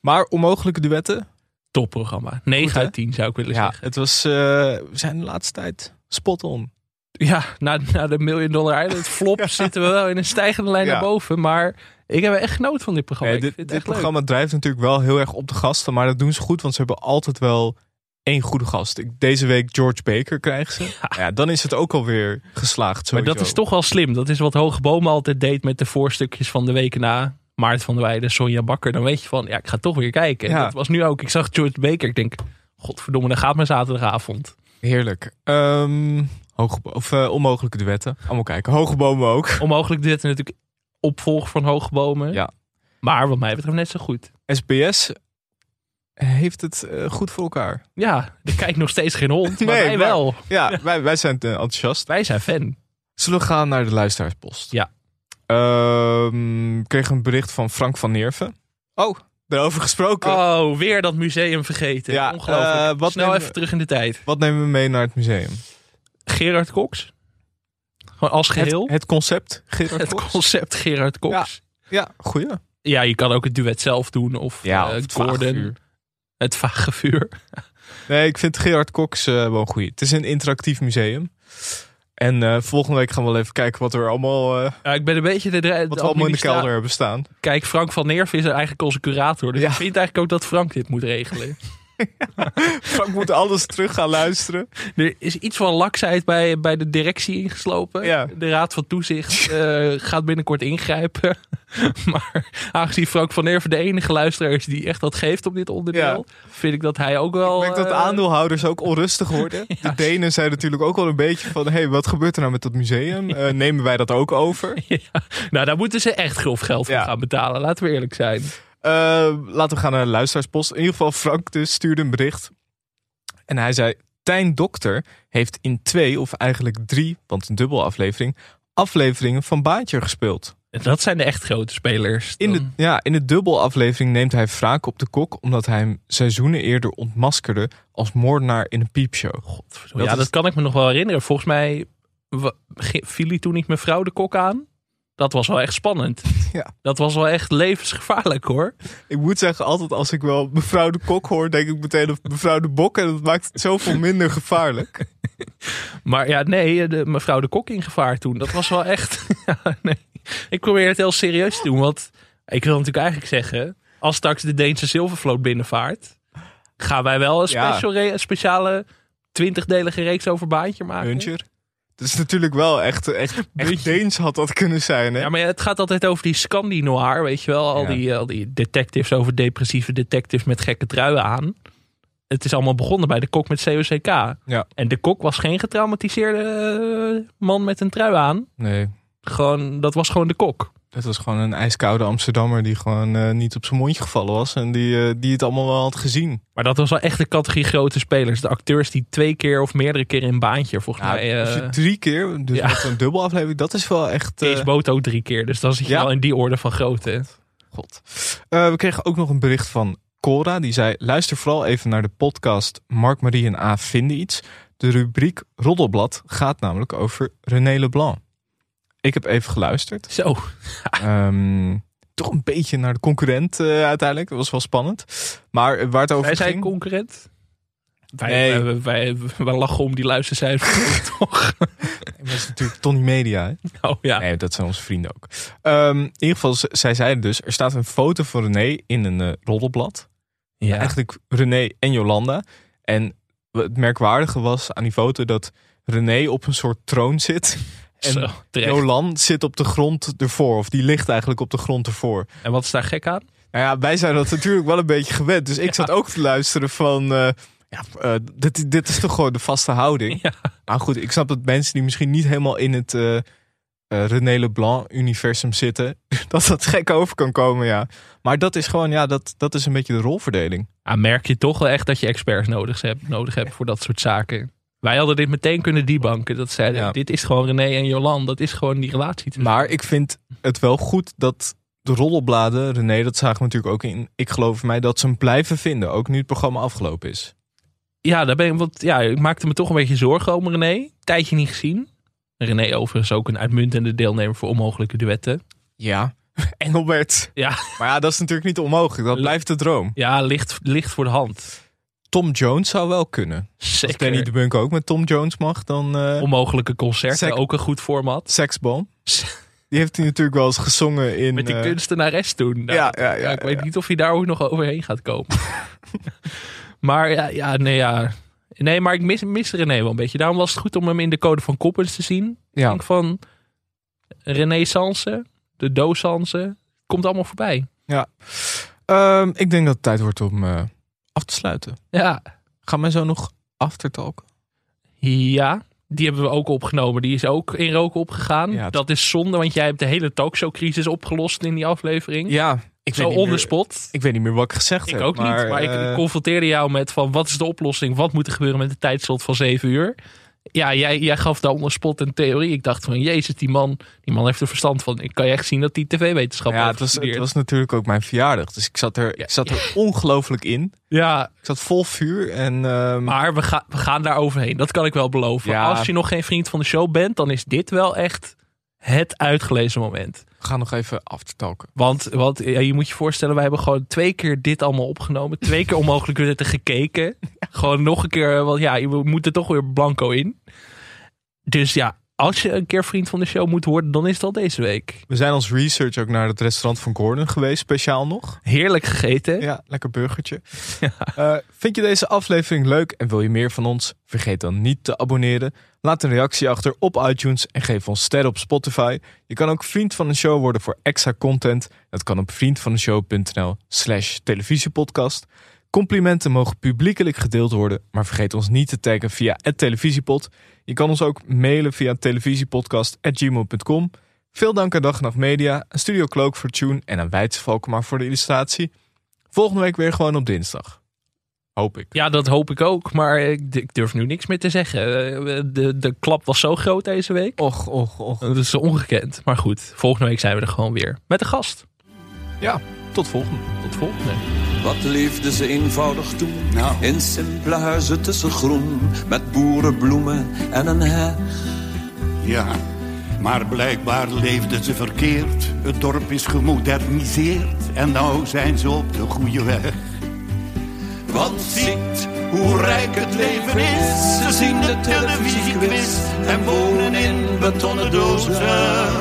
Speaker 1: Maar onmogelijke duetten.
Speaker 2: Topprogramma. 9
Speaker 1: Goed, hè?
Speaker 2: uit 10 zou ik willen
Speaker 1: Ja,
Speaker 2: zeggen.
Speaker 1: het was, eh, we zijn de laatste tijd spot on.
Speaker 2: Ja, na, na de Million Dollar Island flop zitten we wel in een stijgende lijn
Speaker 1: Ja.
Speaker 2: naar boven. Maar ik heb echt genoten van dit programma.
Speaker 1: Nee,
Speaker 2: ik
Speaker 1: dit
Speaker 2: vind
Speaker 1: dit
Speaker 2: het echt leuk.
Speaker 1: programma drijft natuurlijk wel heel erg op de gasten. Maar dat doen ze goed, want ze hebben altijd wel één goede gast. Ik- Deze week George Baker krijgen ze. Ja. dan is het ook alweer geslaagd.
Speaker 2: Maar
Speaker 1: Sowieso.
Speaker 2: dat is toch wel slim. Dat is wat Hoge Bomen altijd deed met de voorstukjes van de weken na. Maart van der Weijden, Sonja Bakker. Dan weet je van, ja, ik ga toch weer kijken. En
Speaker 1: Ja.
Speaker 2: Dat was nu ook. Ik zag George Baker. Ik denk, godverdomme, dan gaat mijn zaterdagavond.
Speaker 1: heerlijk. Ehm, hoge, bo- of eh, onmogelijke duetten. Allemaal kijken. Hoge bomen ook.
Speaker 2: Onmogelijk dit en natuurlijk opvolger van Hoge Bomen.
Speaker 1: Ja.
Speaker 2: Maar wat mij betreft net zo goed.
Speaker 1: SBS heeft het eh, goed voor elkaar.
Speaker 2: Ja, er kijkt nog steeds geen hond, maar
Speaker 1: Nee,
Speaker 2: wij
Speaker 1: maar-
Speaker 2: wel.
Speaker 1: Ja, wij, wij zijn eh, enthousiast.
Speaker 2: Wij zijn fan.
Speaker 1: Zullen we gaan naar de luisteraarspost?
Speaker 2: Ja.
Speaker 1: Ehm, ik kreeg een bericht van Frank van Nerven. Oh, daarover gesproken.
Speaker 2: Oh, weer dat museum vergeten.
Speaker 1: Ja,
Speaker 2: Ongelooflijk.
Speaker 1: eh, wat
Speaker 2: Snel
Speaker 1: nemen we-
Speaker 2: even terug in de tijd.
Speaker 1: Wat nemen we mee naar het museum?
Speaker 2: Gerard Cox. Gewoon als geheel.
Speaker 1: Het, het concept,
Speaker 2: Het,
Speaker 1: Gerard Cox?
Speaker 2: concept Gerard Cox.
Speaker 1: Ja, goeie.
Speaker 2: Ja. je kan ook het duet zelf doen. Of
Speaker 1: Ja,
Speaker 2: eh,
Speaker 1: of het vage
Speaker 2: Gordon.
Speaker 1: vuur.
Speaker 2: het vage vuur.
Speaker 1: Nee, ik vind Gerard Cox eh, wel een goeie. Het is een interactief museum. En eh, volgende week gaan we wel even kijken wat er allemaal, eh,
Speaker 2: Ja, ik ben een beetje de,
Speaker 1: wat
Speaker 2: dre- de
Speaker 1: we allemaal in de
Speaker 2: administra-
Speaker 1: kelder hebben staan.
Speaker 2: Kijk, Frank van Nerf is eigenlijk onze curator. Dus
Speaker 1: Ja.
Speaker 2: ik vind eigenlijk ook dat Frank dit moet regelen.
Speaker 1: Frank moet alles terug gaan luisteren.
Speaker 2: er is iets van laksheid bij, bij de directie ingeslopen.
Speaker 1: Ja.
Speaker 2: De Raad van Toezicht eh, gaat binnenkort ingrijpen. maar aangezien Frank van Nerven de enige luisteraar is die echt wat geeft op dit onderdeel, vind ik dat hij ook wel.
Speaker 1: Ik merk dat
Speaker 2: eh,
Speaker 1: aandeelhouders ook onrustig worden. De Denen zijn natuurlijk ook wel een beetje van... hé, hey, wat gebeurt er nou met dat museum? Eh, nemen wij dat ook over?
Speaker 2: Nou, daar moeten ze echt grof geld voor
Speaker 1: Ja.
Speaker 2: gaan betalen. Laten we eerlijk zijn.
Speaker 1: Eh, laten we gaan naar de luisteraarspost. In ieder geval, Frank dus stuurde een bericht. En hij zei... Tijn Dokter heeft in twee, of eigenlijk drie... want een dubbel aflevering... afleveringen van Baantje gespeeld.
Speaker 2: Dat zijn de echt grote spelers.
Speaker 1: In de,
Speaker 2: Dan-
Speaker 1: ja, in de dubbelaflevering neemt hij wraak op de kok... omdat hij hem seizoenen eerder ontmaskerde... als moordenaar in een piepshow.
Speaker 2: ja,
Speaker 1: dat
Speaker 2: dat
Speaker 1: is-
Speaker 2: kan ik me nog wel herinneren. Volgens mij wa- ge- viel hij toen niet mevrouw de kok aan. Dat was wel echt spannend.
Speaker 1: Ja.
Speaker 2: Dat was wel echt levensgevaarlijk hoor.
Speaker 1: Ik moet zeggen, altijd als ik wel mevrouw de Kok hoor, denk ik meteen aan mevrouw de Bok. En dat maakt het zoveel minder gevaarlijk.
Speaker 2: Maar ja, nee, de, mevrouw de Kok in gevaar toen. Dat was wel echt. ja, nee. Ik probeer het heel serieus te doen. Want ik wil natuurlijk eigenlijk zeggen. Als straks de Deense zilvervloot binnenvaart. gaan wij wel een
Speaker 1: Ja.
Speaker 2: special re- een speciale 20-delige reeks over baantje maken.
Speaker 1: Huncher. Het is natuurlijk wel echt, echt, echt Deens had dat kunnen zijn. Hè?
Speaker 2: Ja, maar het gaat altijd over die Scandi-noir, weet je wel. Al,
Speaker 1: Ja.
Speaker 2: die, al die detectives over depressieve detectives met gekke truien aan. Het is allemaal begonnen bij de kok met COCK.
Speaker 1: Ja.
Speaker 2: En de kok was geen getraumatiseerde eh, man met een trui aan.
Speaker 1: Nee,
Speaker 2: Gewoon, dat was gewoon de kok.
Speaker 1: dat was gewoon een ijskoude Amsterdammer die gewoon eh, niet op zijn mondje gevallen was. En die, eh, die het allemaal wel had gezien.
Speaker 2: Maar dat was wel echt de categorie grote spelers. De acteurs die twee keer of meerdere keer in baantje, volgens
Speaker 1: Nou,
Speaker 2: mij.
Speaker 1: als
Speaker 2: eh
Speaker 1: je drie keer, dus
Speaker 2: ja.
Speaker 1: met een dubbel aflevering, dat is wel echt... eh,
Speaker 2: Kees Boto drie keer. Dus dan zit je
Speaker 1: Ja.
Speaker 2: wel in die orde van grootte.
Speaker 1: God. Eh, we kregen ook nog een bericht van Cora. Die zei: Luister vooral even naar de podcast Mark, Marie en A vinden iets. De rubriek Roddelblad gaat namelijk over René Leblanc. Ik heb even geluisterd.
Speaker 2: Zo,
Speaker 1: Ehm, toch een beetje naar de concurrent eh, uiteindelijk. Dat was wel spannend. Maar eh, waar het over
Speaker 2: wij zijn
Speaker 1: ging...
Speaker 2: concurrent. Wij,
Speaker 1: Nee.
Speaker 2: wij, wij, wij lachen om die luistercijfers, toch?
Speaker 1: Maar het is natuurlijk Tony Media. hè?
Speaker 2: Oh ja.
Speaker 1: Nee, dat zijn onze vrienden ook. Ehm, in ieder geval, z- zij zeiden dus... Er staat een foto van René in een eh, roddelblad.
Speaker 2: ja.
Speaker 1: eigenlijk René en Jolanda. En het merkwaardige was aan die foto dat René op een soort troon zit. En
Speaker 2: Zo, terecht.
Speaker 1: Jolan zit op de grond ervoor. Of die ligt eigenlijk op de grond ervoor.
Speaker 2: En wat is daar gek aan?
Speaker 1: Nou ja, wij zijn dat natuurlijk wel een beetje gewend. Dus ik zat ook te luisteren van... eh, ja, eh, dit, dit is toch gewoon de vaste houding.
Speaker 2: Ja.
Speaker 1: Maar Nou goed, ik snap dat mensen die misschien niet helemaal in het eh eh, René Leblanc-universum zitten... dat dat gek over kan komen, ja. Maar dat is gewoon, ja, dat, dat is een beetje de rolverdeling.
Speaker 2: Ah, merk je toch wel echt dat je experts nodig hebt, nodig hebt voor dat soort zaken. Wij hadden dit meteen kunnen debanken. Dat zeiden,
Speaker 1: Ja.
Speaker 2: dit is gewoon René en Jolan. Dat is gewoon die relatie. tussen-
Speaker 1: Maar ik vind het wel goed dat de roddelbladen, René, dat zagen we natuurlijk ook in. Ik geloof mij dat ze hem blijven vinden, ook nu het programma afgelopen is.
Speaker 2: Ja, daar ben ik, want, ja, ik maakte me toch een beetje zorgen om René. Tijdje niet gezien. René overigens ook een uitmuntende deelnemer voor onmogelijke duetten.
Speaker 1: Ja. Engelbert.
Speaker 2: Ja,
Speaker 1: Maar ja, dat is natuurlijk niet onmogelijk. Dat
Speaker 2: Le-
Speaker 1: blijft de droom.
Speaker 2: ja licht, licht voor de hand.
Speaker 1: Tom Jones zou wel kunnen. Als Danny
Speaker 2: Zeker.
Speaker 1: de Bunk ook met Tom Jones mag, dan eh
Speaker 2: Onmogelijke concerten,
Speaker 1: Zeker.
Speaker 2: ook een goed format.
Speaker 1: Seksbom. Die heeft hij natuurlijk wel eens gezongen in...
Speaker 2: Met die
Speaker 1: eh,
Speaker 2: kunstenares toen. Nou,
Speaker 1: Ja, ja, ja,
Speaker 2: ik
Speaker 1: ja,
Speaker 2: weet
Speaker 1: ja.
Speaker 2: niet of hij daar ook nog overheen gaat komen. maar ja, ja, nee, ja. Nee, maar ik mis, mis René wel een beetje. Daarom was het goed om hem in de code van Koppens te zien. Ik
Speaker 1: ja.
Speaker 2: denk van Renaissance, de Dosance. Komt allemaal voorbij.
Speaker 1: Ehm, ik denk dat het tijd wordt om eh, af te sluiten.
Speaker 2: Ja,
Speaker 1: Gaan wij zo nog aftertalken?
Speaker 2: ja. Die hebben we ook opgenomen. Die is ook in rook opgegaan.
Speaker 1: Ja, het-
Speaker 2: dat is zonde, want jij hebt de hele talkshowcrisis opgelost in die aflevering.
Speaker 1: Ja. Ik
Speaker 2: Zo
Speaker 1: weet niet
Speaker 2: on the
Speaker 1: meer,
Speaker 2: spot.
Speaker 1: ik weet niet meer wat ik gezegd heb.
Speaker 2: Ik ook niet. Maar
Speaker 1: eh,
Speaker 2: ik confronteerde jou met van wat is de oplossing? Wat moet er gebeuren met de tijdslot van 7 uur? Ja, jij, jij gaf daar onder spot een theorie. Ik dacht van jezus, die man, die man heeft er verstand van. Ik kan je echt zien dat die tv-wetenschap
Speaker 1: Ja, het was, het was natuurlijk ook mijn verjaardag. Dus ik zat er, ik zat er ongelooflijk in.
Speaker 2: Ja,
Speaker 1: Ik zat vol vuur. En, ehm,
Speaker 2: maar we, ga, we gaan daar overheen. Dat kan ik wel beloven.
Speaker 1: Ja.
Speaker 2: Als je nog geen vriend van de show bent, dan is dit wel echt het uitgelezen moment.
Speaker 1: We gaan nog even aftalken.
Speaker 2: Want, want ja, je moet je voorstellen, wij hebben gewoon twee keer dit allemaal opgenomen. Twee keer onmogelijk weer te gekeken. Gewoon nog een keer, want ja, je moet er toch weer blanco in. Dus ja, als je een keer vriend van de show moet worden, dan is dat deze week.
Speaker 1: We zijn als research ook naar het restaurant van Gordon geweest, speciaal nog.
Speaker 2: Heerlijk gegeten.
Speaker 1: Ja, lekker burgertje. Eh, vind je deze aflevering leuk en wil je meer van ons? Vergeet dan niet te abonneren. Laat een reactie achter op iTunes en geef ons sterren op Spotify. Je kan ook vriend van de show worden voor extra content. Dat kan op vriendvandeshow.nl slash televisiepodcast. Complimenten mogen publiekelijk gedeeld worden, maar vergeet ons niet te taggen via het televisiepod. Je kan ons ook mailen via televisiepodcast.gmail.com. Veel dank aan Dag en Nacht Media, aan Studio Cloak voor Tune en aan Weidse Valkemaar voor de illustratie. Volgende week weer gewoon op dinsdag. Hoop ik.
Speaker 2: Ja, dat hoop ik ook, maar ik, d- ik durf nu niks meer te zeggen. Eh, De, de klap was zo groot deze week.
Speaker 1: Och, och, och.
Speaker 2: Dat is ongekend. Maar goed, volgende week zijn we er gewoon weer. Met een gast.
Speaker 1: Ja, tot volgende.
Speaker 2: Tot volgende.
Speaker 5: Wat leefden ze eenvoudig toe?
Speaker 9: Nou.
Speaker 5: In simpele huizen tussen groen, met boerenbloemen en een heg.
Speaker 9: Ja, Maar blijkbaar leefden ze verkeerd. Het dorp is gemoderniseerd en nou zijn ze op de goede weg. Want ziet hoe rijk het leven is. Ze zien de televisiequiz en wonen in betonnen dozen.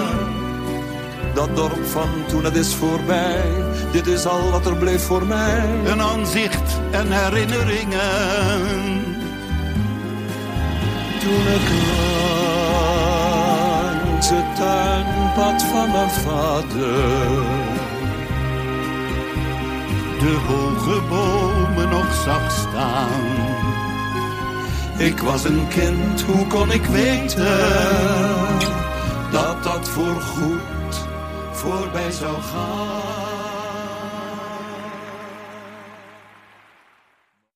Speaker 5: Dat dorp van toen, het is voorbij. Dit is al wat er bleef voor mij.
Speaker 9: Een aanzicht en herinneringen.
Speaker 5: Toen ik langs het tuinpad van mijn vader.
Speaker 9: De hoge bomen nog zag staan. Ik was een kind, hoe kon ik weten dat dat voorgoed voorbij zou gaan?